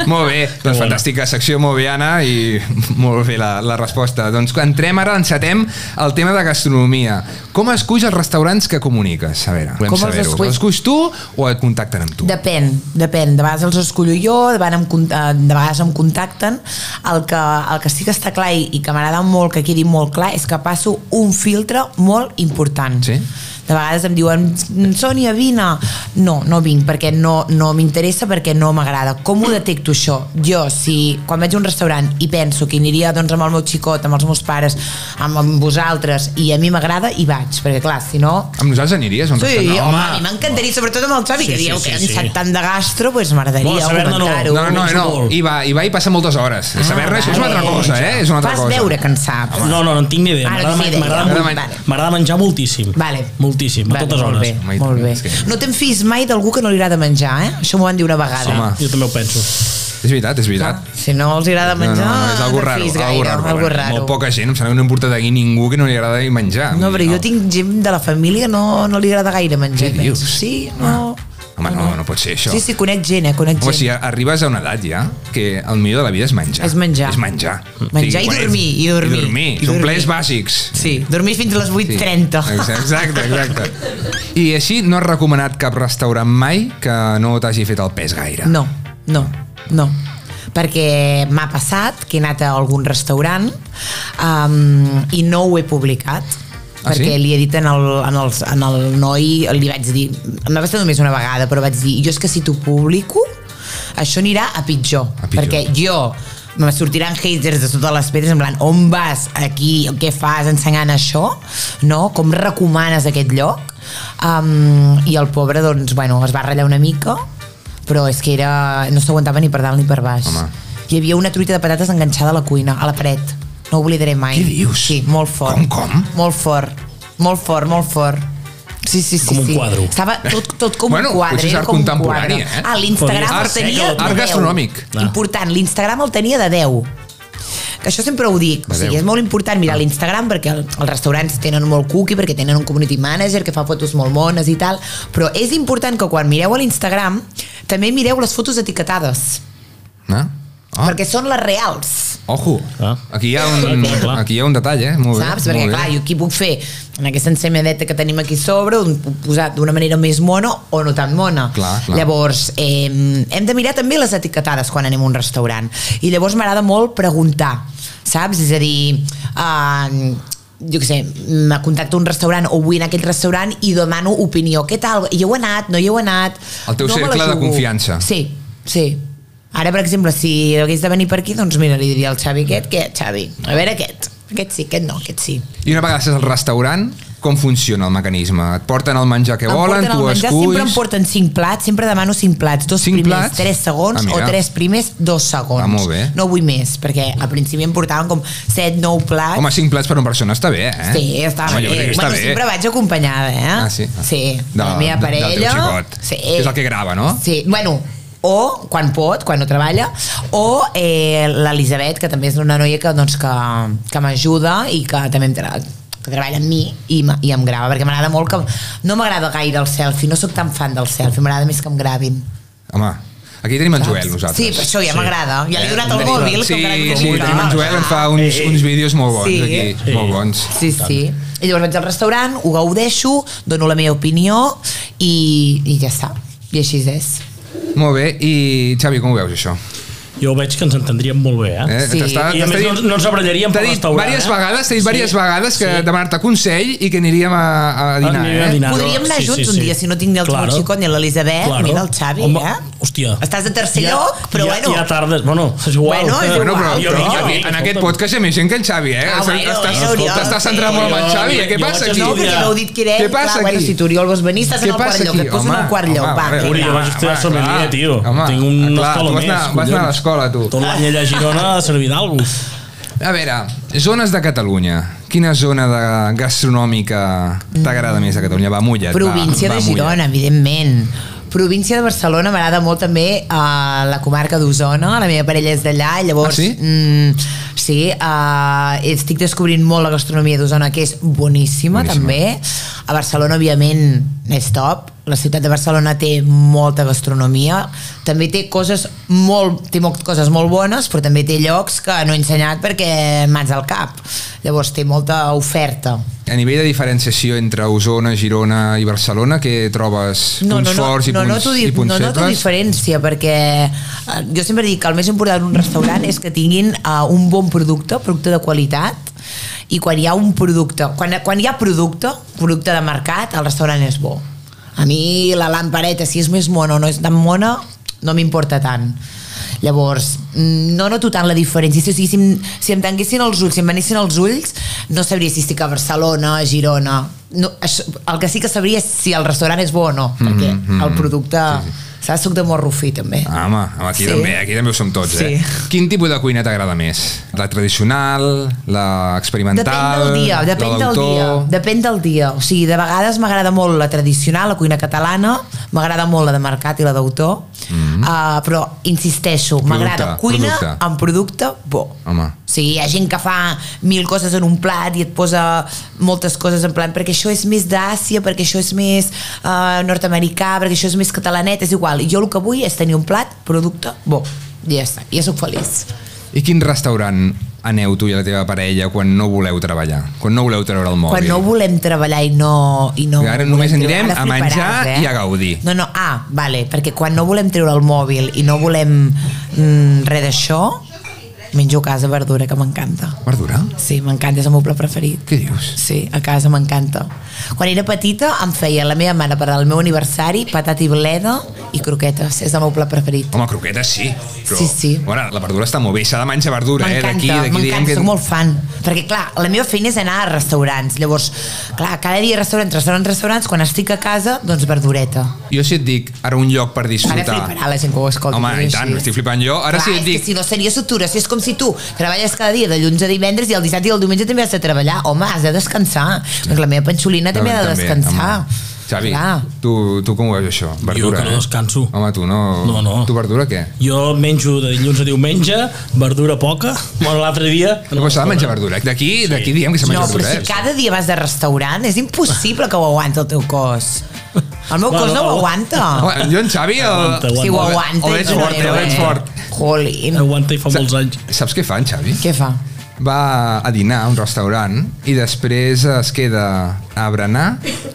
Speaker 2: Molt bé, doncs
Speaker 3: bona.
Speaker 2: fantàstica secció, molt bé, Anna, i molt bé la, la resposta. Doncs entrem ara, encetem el tema de gastronomia. Com esculls els restaurants que comuniques? A veure, volem
Speaker 4: Com els
Speaker 2: saber-ho.
Speaker 4: esculls?
Speaker 2: Els esculls tu o et contacten amb tu?
Speaker 4: Depèn, depèn. De vegades els escollo jo, de vegades em, con- eh, de vegades em contacten. El que, el que sí que està clar i, i que m'agrada molt que quedi molt clar és que passo un filtre molt important.
Speaker 2: Sí?
Speaker 4: De vegades em diuen, Sònia, vine. No, no vinc, perquè no, no m'interessa, perquè no m'agrada. Com ho detecto, això? Jo, si quan vaig a un restaurant i penso que hi aniria doncs, amb el meu xicot, amb els meus pares, amb, amb vosaltres, i a mi m'agrada, hi vaig. Perquè, clar, si no,
Speaker 2: Amb nosaltres aniries a un
Speaker 4: Sí, home,
Speaker 2: restaurant?
Speaker 4: a mi m'encantaria, sobretot amb el Xavi,
Speaker 3: Sí,
Speaker 4: que
Speaker 3: sí,
Speaker 4: dieu
Speaker 3: sí,
Speaker 4: que hem
Speaker 3: sí.
Speaker 4: sap tant de gastro, doncs
Speaker 3: Vol
Speaker 4: m'agradaria
Speaker 3: saber-ne no.
Speaker 4: comentar-ho.
Speaker 2: No, no, no, no.
Speaker 3: Molt.
Speaker 2: Hi va, hi va i passa moltes hores. Ah, Saber-ne això és una altra
Speaker 4: vale.
Speaker 2: cosa, eh? És una altra
Speaker 4: Fas
Speaker 2: cosa.
Speaker 4: veure que en saps.
Speaker 3: No, no, no en tinc ni idea. M'agrada
Speaker 4: Ara sí,
Speaker 3: men-
Speaker 4: deia.
Speaker 3: M'agrada
Speaker 2: Vale.
Speaker 3: men- m'agrada menjar moltíssim.
Speaker 4: Vale.
Speaker 3: Moltíssim, a
Speaker 4: Vale,
Speaker 3: totes
Speaker 4: molt
Speaker 3: hores.
Speaker 4: Bé,
Speaker 2: Home, i tant,
Speaker 4: molt bé.
Speaker 2: és que-
Speaker 4: No te'n fis mai d'algú que no li agrada menjar, eh? Això m'ho van dir una vegada.
Speaker 2: Home.
Speaker 3: Jo també ho penso.
Speaker 2: És veritat, és veritat.
Speaker 4: Si Ah, no els agrada
Speaker 2: No,
Speaker 4: menjar,
Speaker 2: no, no, és algo
Speaker 4: te'n
Speaker 2: raro,
Speaker 4: fis gaire,
Speaker 2: algo raro. eh?
Speaker 4: algo raro.
Speaker 2: Molt poca gent, em sembla que no em porta d'aquí ningú que no li agrada ni menjar.
Speaker 4: No, però jo
Speaker 2: No.
Speaker 4: tinc gent de la família que no, no li agrada gaire menjar.
Speaker 2: Què
Speaker 4: penso.
Speaker 2: dius?
Speaker 4: Sí, no...
Speaker 2: Home, no, no pot ser això.
Speaker 4: Sí, sí, conec gent, eh? Conec
Speaker 2: Home,
Speaker 4: gent.
Speaker 2: si arribes a una edat ja que el millor de la vida és menjar.
Speaker 4: És menjar. Mm.
Speaker 2: És menjar.
Speaker 4: Menjar i
Speaker 2: quan ets-
Speaker 4: dormir, i dormir.
Speaker 2: I dormir.
Speaker 4: I
Speaker 2: Són
Speaker 4: dormir.
Speaker 2: plaers bàsics.
Speaker 4: Sí, dormir fins a les 8.30.
Speaker 2: Exacte, exacte. I així no has recomanat cap restaurant mai que no t'hagi fet el pes gaire.
Speaker 4: No, no, no perquè m'ha passat que he anat a algun restaurant um, i no ho he publicat
Speaker 2: Ah,
Speaker 4: perquè
Speaker 2: sí?
Speaker 4: li he dit en el, en, el, en el noi, li vaig dir m'ha passat només una vegada, però vaig dir jo és que si t'ho publico, això anirà a pitjor,
Speaker 2: A pitjor.
Speaker 4: perquè jo me sortiran haters de totes les pedres en plan, on vas aquí, què fas ensenyant això, no? Com recomanes aquest lloc? Um, I el pobre, doncs, bueno, es va ratllar una mica, però és que era... no s'aguantava ni per dalt ni per baix.
Speaker 2: Home.
Speaker 4: Hi havia una truita de patates enganxada a la cuina, a la paret. No ho oblidaré mai.
Speaker 2: Què dius?
Speaker 4: Sí, molt fort.
Speaker 2: Com, com?
Speaker 4: Molt fort, molt fort, molt fort. Sí, sí, sí.
Speaker 3: Com un
Speaker 4: sí.
Speaker 3: quadro.
Speaker 4: Estava tot, tot com
Speaker 2: Bueno,
Speaker 4: un quadre.
Speaker 2: potser és
Speaker 4: era
Speaker 2: art
Speaker 4: com un
Speaker 2: contemporani,
Speaker 4: quadre.
Speaker 2: eh?
Speaker 4: Ah, l'Instagram
Speaker 3: Podria
Speaker 4: el
Speaker 3: ser que
Speaker 4: tenia...
Speaker 3: el-
Speaker 4: de
Speaker 2: art
Speaker 4: 10.
Speaker 2: gastronòmic.
Speaker 3: Ah.
Speaker 4: Important, l'Instagram el tenia de 10 que això sempre ho dic, o
Speaker 2: De
Speaker 4: sigui,
Speaker 2: Déu.
Speaker 4: és molt important
Speaker 3: Ah.
Speaker 4: mirar l'Instagram perquè el- els restaurants tenen molt cookie, perquè tenen un community manager que fa fotos molt mones i tal, però és important que quan mireu a l'Instagram també mireu les fotos etiquetades,
Speaker 2: No?
Speaker 4: oh.
Speaker 2: Oh,
Speaker 4: perquè són les reals.
Speaker 2: Ojo,
Speaker 3: Ah.
Speaker 2: aquí hi, ha un,
Speaker 3: Clar, clar, clar.
Speaker 2: aquí hi ha un detall, eh? Molt bé,
Speaker 4: Saps? Perquè,
Speaker 2: molt bé.
Speaker 4: clar, jo aquí puc fer en aquesta ensenyadeta que tenim aquí sobre, un, puc posar d'una manera més mona o no tan mona.
Speaker 2: Clar, clar.
Speaker 4: Llavors, eh, hem de mirar també les etiquetades quan anem a un restaurant. I llavors m'agrada molt preguntar, saps? És a dir... Eh, jo què sé, me contacto a un restaurant o vull anar a aquell restaurant i demano opinió. Què tal? Hi heu anat? No hi heu anat?
Speaker 2: El teu
Speaker 4: no me la
Speaker 2: cercle de
Speaker 4: jugo.
Speaker 2: confiança.
Speaker 4: Sí, sí. Ara, per exemple, si hagués de venir per aquí, doncs mira, li diria al Xavi aquest, què, Xavi? A veure aquest. Aquest sí, aquest no, aquest sí.
Speaker 2: I una vegada estàs al restaurant, com funciona el mecanisme? Et porten el menjar que
Speaker 4: Em
Speaker 2: volen,
Speaker 4: porten el
Speaker 2: tu
Speaker 4: menjar, sempre em
Speaker 2: esculls...
Speaker 4: porten 5 plats, sempre demano 5 plats, dos
Speaker 2: Cinc
Speaker 4: primers,
Speaker 2: plats?
Speaker 4: 3 segons
Speaker 2: Ah, mira.
Speaker 4: o 3 primers, 2 segons.
Speaker 2: Ah, molt bé.
Speaker 4: No vull més, perquè al principi em portaven com 7, 9 plats.
Speaker 2: Home, cinc plats per una persona està bé, eh?
Speaker 4: Sí, estava
Speaker 2: Home, jo crec
Speaker 4: bé.
Speaker 2: que està
Speaker 4: Bueno,
Speaker 2: bé.
Speaker 4: sempre vaig acompanyada, eh?
Speaker 2: Ah, sí? Ah.
Speaker 4: Sí,
Speaker 2: De-
Speaker 4: de, la meva
Speaker 2: de-
Speaker 4: parella.
Speaker 2: Del teu xicot,
Speaker 4: Sí.
Speaker 2: que és el que grava, no?
Speaker 4: Sí, bueno, o quan pot, quan no treballa, o eh, l'Elisabet, que també és una noia que, doncs, que, que m'ajuda i que també em tra que treballa amb mi i, m- i em grava, perquè m'agrada molt que... No m'agrada gaire el selfie, no sóc tan fan del selfie, m'agrada més que em gravin.
Speaker 2: Home, aquí tenim en Joel, nosaltres. Eh,
Speaker 4: Sí, per això ja
Speaker 3: Sí.
Speaker 4: m'agrada. Ja li he donat el
Speaker 2: Tenim-
Speaker 4: mòbil.
Speaker 2: Sí,
Speaker 4: que encara no
Speaker 2: sí,
Speaker 4: tinc
Speaker 2: tenim en
Speaker 4: mòbil.
Speaker 2: Joel, en fa uns, uns vídeos molt bons
Speaker 4: Sí.
Speaker 2: aquí,
Speaker 3: Sí.
Speaker 2: molt bons.
Speaker 4: Sí, sí. I llavors vaig al restaurant, ho gaudeixo, dono la meva opinió i, i ja està. I així és.
Speaker 2: Molt bé, i Xavi, com ho veus això?
Speaker 3: jo veig que ens entendríem molt bé, eh?
Speaker 2: Eh?
Speaker 4: Sí.
Speaker 2: T'està-
Speaker 3: I a
Speaker 2: t'està
Speaker 3: més no, ens-
Speaker 2: dient-
Speaker 3: no ens abrallaríem
Speaker 2: T'ha
Speaker 3: pel
Speaker 2: dit
Speaker 3: restaurant,
Speaker 2: diverses
Speaker 3: eh?
Speaker 2: vegades, t'ha dit
Speaker 3: Sí.
Speaker 2: diverses vegades que
Speaker 3: Sí. Ah,
Speaker 2: demanar-te consell i que aniríem a, a dinar,
Speaker 3: Aniríem a
Speaker 2: eh?
Speaker 3: dinar.
Speaker 4: Podríem anar
Speaker 3: Sí, sí, sí.
Speaker 4: junts un dia, si no tinc ni el
Speaker 3: Claro.
Speaker 4: claro. xicot ni l'Elisabet,
Speaker 3: Claro.
Speaker 4: ni Eh, el Xavi,
Speaker 3: Home,
Speaker 4: eh?
Speaker 3: hòstia.
Speaker 4: Estàs de tercer ja, lloc, però
Speaker 3: ja,
Speaker 4: bueno...
Speaker 3: Ja tardes, bueno, és igual.
Speaker 4: Bueno, és
Speaker 3: Ah,
Speaker 2: Bueno, però,
Speaker 4: Igual,
Speaker 2: però,
Speaker 4: jo-
Speaker 2: aquí, en aquest podcast hi ha més gent que el Xavi, eh?
Speaker 4: Ah, bueno,
Speaker 2: T'estàs-
Speaker 4: eh, Oriol,
Speaker 2: T'estàs centrat
Speaker 4: sí.
Speaker 2: molt en el
Speaker 3: Jo-
Speaker 2: Xavi, eh? Què
Speaker 3: jo
Speaker 2: passa
Speaker 3: vaig
Speaker 2: aquí?
Speaker 4: No, perquè
Speaker 3: Ja.
Speaker 4: m'heu dit que era
Speaker 2: Què
Speaker 4: ell.
Speaker 2: passa
Speaker 4: clar, Bueno,
Speaker 2: aquí?
Speaker 4: si tu, Oriol, vols venir, estàs
Speaker 2: Què
Speaker 4: en el quart
Speaker 2: passa
Speaker 4: lloc.
Speaker 2: aquí?
Speaker 4: Et poso en
Speaker 2: Home,
Speaker 4: el quart lloc,
Speaker 2: home,
Speaker 4: va.
Speaker 2: a veure,
Speaker 3: Uri,
Speaker 4: vinga,
Speaker 3: jo
Speaker 4: va.
Speaker 3: vaig estudiar
Speaker 2: Home,
Speaker 3: sommelier,
Speaker 2: clar.
Speaker 3: tio.
Speaker 2: Home,
Speaker 3: Tinc una
Speaker 2: clar,
Speaker 3: escola
Speaker 2: tu vas
Speaker 3: més,
Speaker 2: anar- vas anar a
Speaker 3: collons.
Speaker 2: l'escola, tu.
Speaker 3: Tot l'any allà a Girona a servir d'algú.
Speaker 2: A veure, zones de Catalunya. Quina zona de gastronòmica t'agrada més a Catalunya? Va, mulla't. va,
Speaker 4: Mm. Província
Speaker 2: va,
Speaker 4: de
Speaker 2: mulla't.
Speaker 4: Girona, evidentment. Província de Barcelona m'agrada molt també a la comarca d'Osona, la meva parella és d'allà, i llavors...
Speaker 2: Ah, sí?
Speaker 4: Mm, sí, eh, estic descobrint molt la gastronomia d'Osona, que és boníssima,
Speaker 2: Boníssima.
Speaker 4: també. A Barcelona, òbviament, és top. La ciutat de Barcelona té molta gastronomia, també té coses molt, té molt, coses molt bones, però també té llocs que no he ensenyat perquè m'has al cap. Llavors té molta oferta.
Speaker 2: A nivell de diferenciació entre Osona, Girona i Barcelona, què trobes? punts forts i
Speaker 4: no,
Speaker 2: punts,
Speaker 4: noto,
Speaker 2: i
Speaker 4: di-
Speaker 2: punts
Speaker 4: no noto
Speaker 2: febles?
Speaker 4: diferència perquè eh, jo sempre dic que el més important d'un restaurant és que tinguin eh, un bon producte, producte de qualitat i quan hi ha un producte quan, quan hi ha producte, producte de mercat el restaurant és bo a mi la lampareta, si és més mona o no és tan mona, no m'importa tant Llavors, mm, no noto tant la diferència. O sigui, si, em, si em tanquessin els ulls, si em venessin els ulls, no sabria si estic a Barcelona, a Girona... No, això, el que sí que sabria és si el restaurant és bo o no, perquè mm
Speaker 2: mhm.
Speaker 4: -hmm. el producte... Sí, sí. Saps? Soc de morrofí, també.
Speaker 2: Ah, home, home, aquí,
Speaker 4: Sí.
Speaker 2: sí. també, aquí també ho som tots,
Speaker 4: Sí.
Speaker 2: eh? Quin tipus de cuina t'agrada més? La tradicional, la experimental,
Speaker 4: Depèn del dia, depèn
Speaker 2: la
Speaker 4: del dia,
Speaker 2: d'autor?
Speaker 4: depèn del dia. O sigui, de vegades m'agrada molt la tradicional, la cuina catalana, m'agrada molt la de mercat i la d'autor, mm -hmm. uh, però insisteixo, m'agrada
Speaker 2: Mhm. Producte,
Speaker 4: cuina
Speaker 2: producte.
Speaker 4: amb producte bo.
Speaker 2: Home.
Speaker 4: O sigui, hi ha gent que fa mil coses en un plat i et posa moltes coses en plan perquè això és més d'Àsia, perquè això és més uh, nord-americà, perquè això és més catalanet, és igual. Jo el que vull és tenir un plat, producte, bo. I ja està, ja sóc feliç.
Speaker 2: I quin restaurant aneu tu i la teva parella quan no voleu treballar? Quan no voleu treure el mòbil?
Speaker 4: Quan no volem treballar i no... I no
Speaker 2: Ara
Speaker 4: volem
Speaker 2: només
Speaker 4: treure-
Speaker 2: anirem
Speaker 4: ara
Speaker 2: a menjar
Speaker 4: fliparàs,
Speaker 2: i a gaudir.
Speaker 4: No, no, ah, vale, perquè quan no volem treure el mòbil i no volem mm, res d'això, menjo a casa verdura, que m'encanta.
Speaker 2: Verdura?
Speaker 4: Sí, m'encanta, és el meu pla preferit.
Speaker 2: Què dius?
Speaker 4: Sí, a casa m'encanta. Quan era petita em feia la meva mare per al meu aniversari patata i bleda i croquetes. És el meu pla preferit.
Speaker 2: Home, croquetes sí. Però,
Speaker 4: Sí, sí.
Speaker 2: Bueno, la verdura està molt bé, s'ha de menjar verdura, eh? D'aquí,
Speaker 4: M'encanta,
Speaker 2: d'aquí diem
Speaker 4: m'encanta,
Speaker 2: que...
Speaker 4: soc molt fan. Perquè, clar, la meva feina és anar a restaurants. Llavors, clar, cada dia restaurants, restaurants, restaurants, quan estic a casa, doncs verdureta.
Speaker 2: Jo si et dic ara un lloc per
Speaker 4: Ara
Speaker 2: disfrutar...
Speaker 4: fliparà la gent que ho escolta.
Speaker 2: Home,
Speaker 4: però
Speaker 2: i
Speaker 4: és
Speaker 2: tant,
Speaker 4: així.
Speaker 2: estic flipant jo. Ara
Speaker 4: Clar,
Speaker 2: si et
Speaker 4: és
Speaker 2: dic...
Speaker 4: que si no seria sotura, si és com si tu treballes cada dia de dilluns a divendres i el dissabte i el diumenge també has de treballar. Home, has de descansar, perquè la meva panxolina també ha de descansar.
Speaker 2: home. Xavi,
Speaker 4: Clar.
Speaker 2: tu, tu com ho veus això? Verdura,
Speaker 3: que
Speaker 2: eh?
Speaker 3: no descanso.
Speaker 2: Home, tu no...
Speaker 3: No, no.
Speaker 2: Tu verdura què?
Speaker 3: Jo menjo de dilluns a diumenge, verdura poca, bueno, l'altre dia...
Speaker 2: No, però s'ha de menjar verdura. D'aquí d'aquí diem que s'ha de
Speaker 4: No,
Speaker 2: menjar
Speaker 4: però
Speaker 2: verdura. eh?
Speaker 4: si cada dia vas de restaurant, és impossible que ho aguanti el teu cos. El meu
Speaker 3: Bueno,
Speaker 4: cos no ho
Speaker 3: agu-
Speaker 4: aguanta.
Speaker 2: Home, Jo en Xavi...
Speaker 3: Aguanta,
Speaker 2: El...
Speaker 3: aguanta.
Speaker 4: Si ho
Speaker 2: o ve-
Speaker 4: aguanta...
Speaker 2: o veig
Speaker 4: i no,
Speaker 2: fort, eh, o veig fort.
Speaker 4: Jolín.
Speaker 3: Aguanta i fa molts anys.
Speaker 2: Saps què fa en Xavi?
Speaker 4: Què fa?
Speaker 2: va a dinar a un restaurant i després es queda a berenar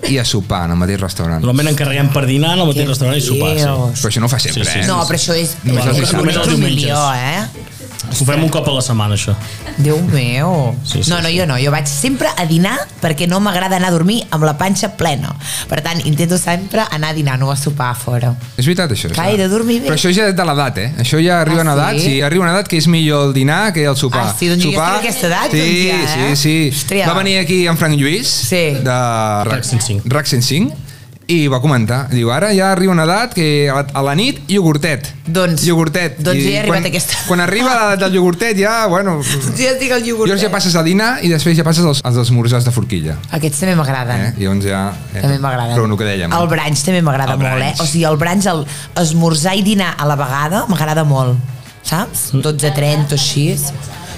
Speaker 2: i a sopar en el mateix restaurant.
Speaker 3: Normalment encarreguem per dinar en el mateix restaurant i sopar, sí.
Speaker 4: Dios.
Speaker 2: Però això no ho fa sempre,
Speaker 3: Sí, sí,
Speaker 2: eh?
Speaker 3: sí.
Speaker 4: No, però això és...
Speaker 2: Només els
Speaker 4: és
Speaker 2: dissabtes.
Speaker 4: un
Speaker 3: Només els diumenges.
Speaker 4: milió, eh?
Speaker 3: Ho fem un cop a la setmana, això.
Speaker 4: Déu meu.
Speaker 3: Sí, sí,
Speaker 4: no, no,
Speaker 3: sí.
Speaker 4: jo no. Jo vaig sempre a dinar perquè no m'agrada anar a dormir amb la panxa plena. Per tant, intento sempre anar a dinar, no a sopar a fora.
Speaker 2: És veritat, això.
Speaker 4: Clar,
Speaker 2: sí.
Speaker 4: he de dormir bé.
Speaker 2: Però això ja és de l'edat, eh? Això ja arriba
Speaker 4: Ah,
Speaker 2: a una edat,
Speaker 4: sí?
Speaker 2: sí? arriba a una edat que és millor el dinar que el sopar.
Speaker 4: Ah, sí, doncs jo ja
Speaker 2: sopar...
Speaker 4: estic a aquesta edat,
Speaker 2: sí,
Speaker 4: doncs ja, eh?
Speaker 2: Sí, sí,
Speaker 4: Hòstia.
Speaker 2: Va venir aquí en Frank Lluís,
Speaker 4: Sí.
Speaker 2: de
Speaker 3: RAC 105.
Speaker 2: RAC 105, i va comentar, diu, ara ja arriba una edat que a la- a la nit iogurtet.
Speaker 4: Doncs-
Speaker 2: iogurtet.
Speaker 4: doncs
Speaker 2: I
Speaker 4: ja he arribat
Speaker 2: quan,
Speaker 4: a aquesta.
Speaker 2: Quan arriba l'edat del iogurtet ja, bueno,
Speaker 4: Sí, ja estic al iogurt.
Speaker 2: Llavors ja passes a dinar i després ja passes als, als esmorzars de forquilla.
Speaker 4: Aquests també m'agraden.
Speaker 2: Eh? I llavors ja... Eh?
Speaker 4: Mm. També m'agraden.
Speaker 2: Però el que dèiem. eh?
Speaker 4: El brunch també m'agrada
Speaker 2: El
Speaker 4: molt, eh?
Speaker 2: brunch.
Speaker 4: O sigui, el brunch, el esmorzar i dinar a la vegada, m'agrada molt, saps?
Speaker 2: Mm.
Speaker 4: 12, 30 o així.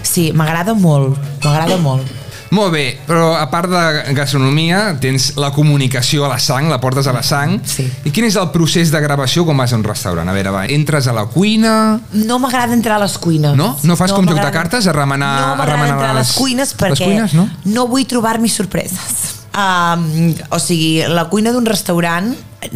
Speaker 4: Sí, m'agrada molt, m'agrada molt.
Speaker 2: Molt bé, però a part de gastronomia, tens la comunicació a la sang, la portes a la sang.
Speaker 4: Sí.
Speaker 2: I quin és el procés de gravació quan vas a un restaurant? A veure, va, entres a la cuina...
Speaker 4: No m'agrada entrar a les cuines.
Speaker 2: No? No fas com joc de
Speaker 4: m'agrada-
Speaker 2: cartes, a remenar-
Speaker 4: No
Speaker 2: a
Speaker 4: m'agrada
Speaker 2: remenar
Speaker 4: entrar a les
Speaker 2: les-
Speaker 4: cuines
Speaker 2: les
Speaker 4: perquè
Speaker 2: cuines, no?
Speaker 4: no vull trobar-m'hi sorpreses. Um, o sigui, la cuina d'un restaurant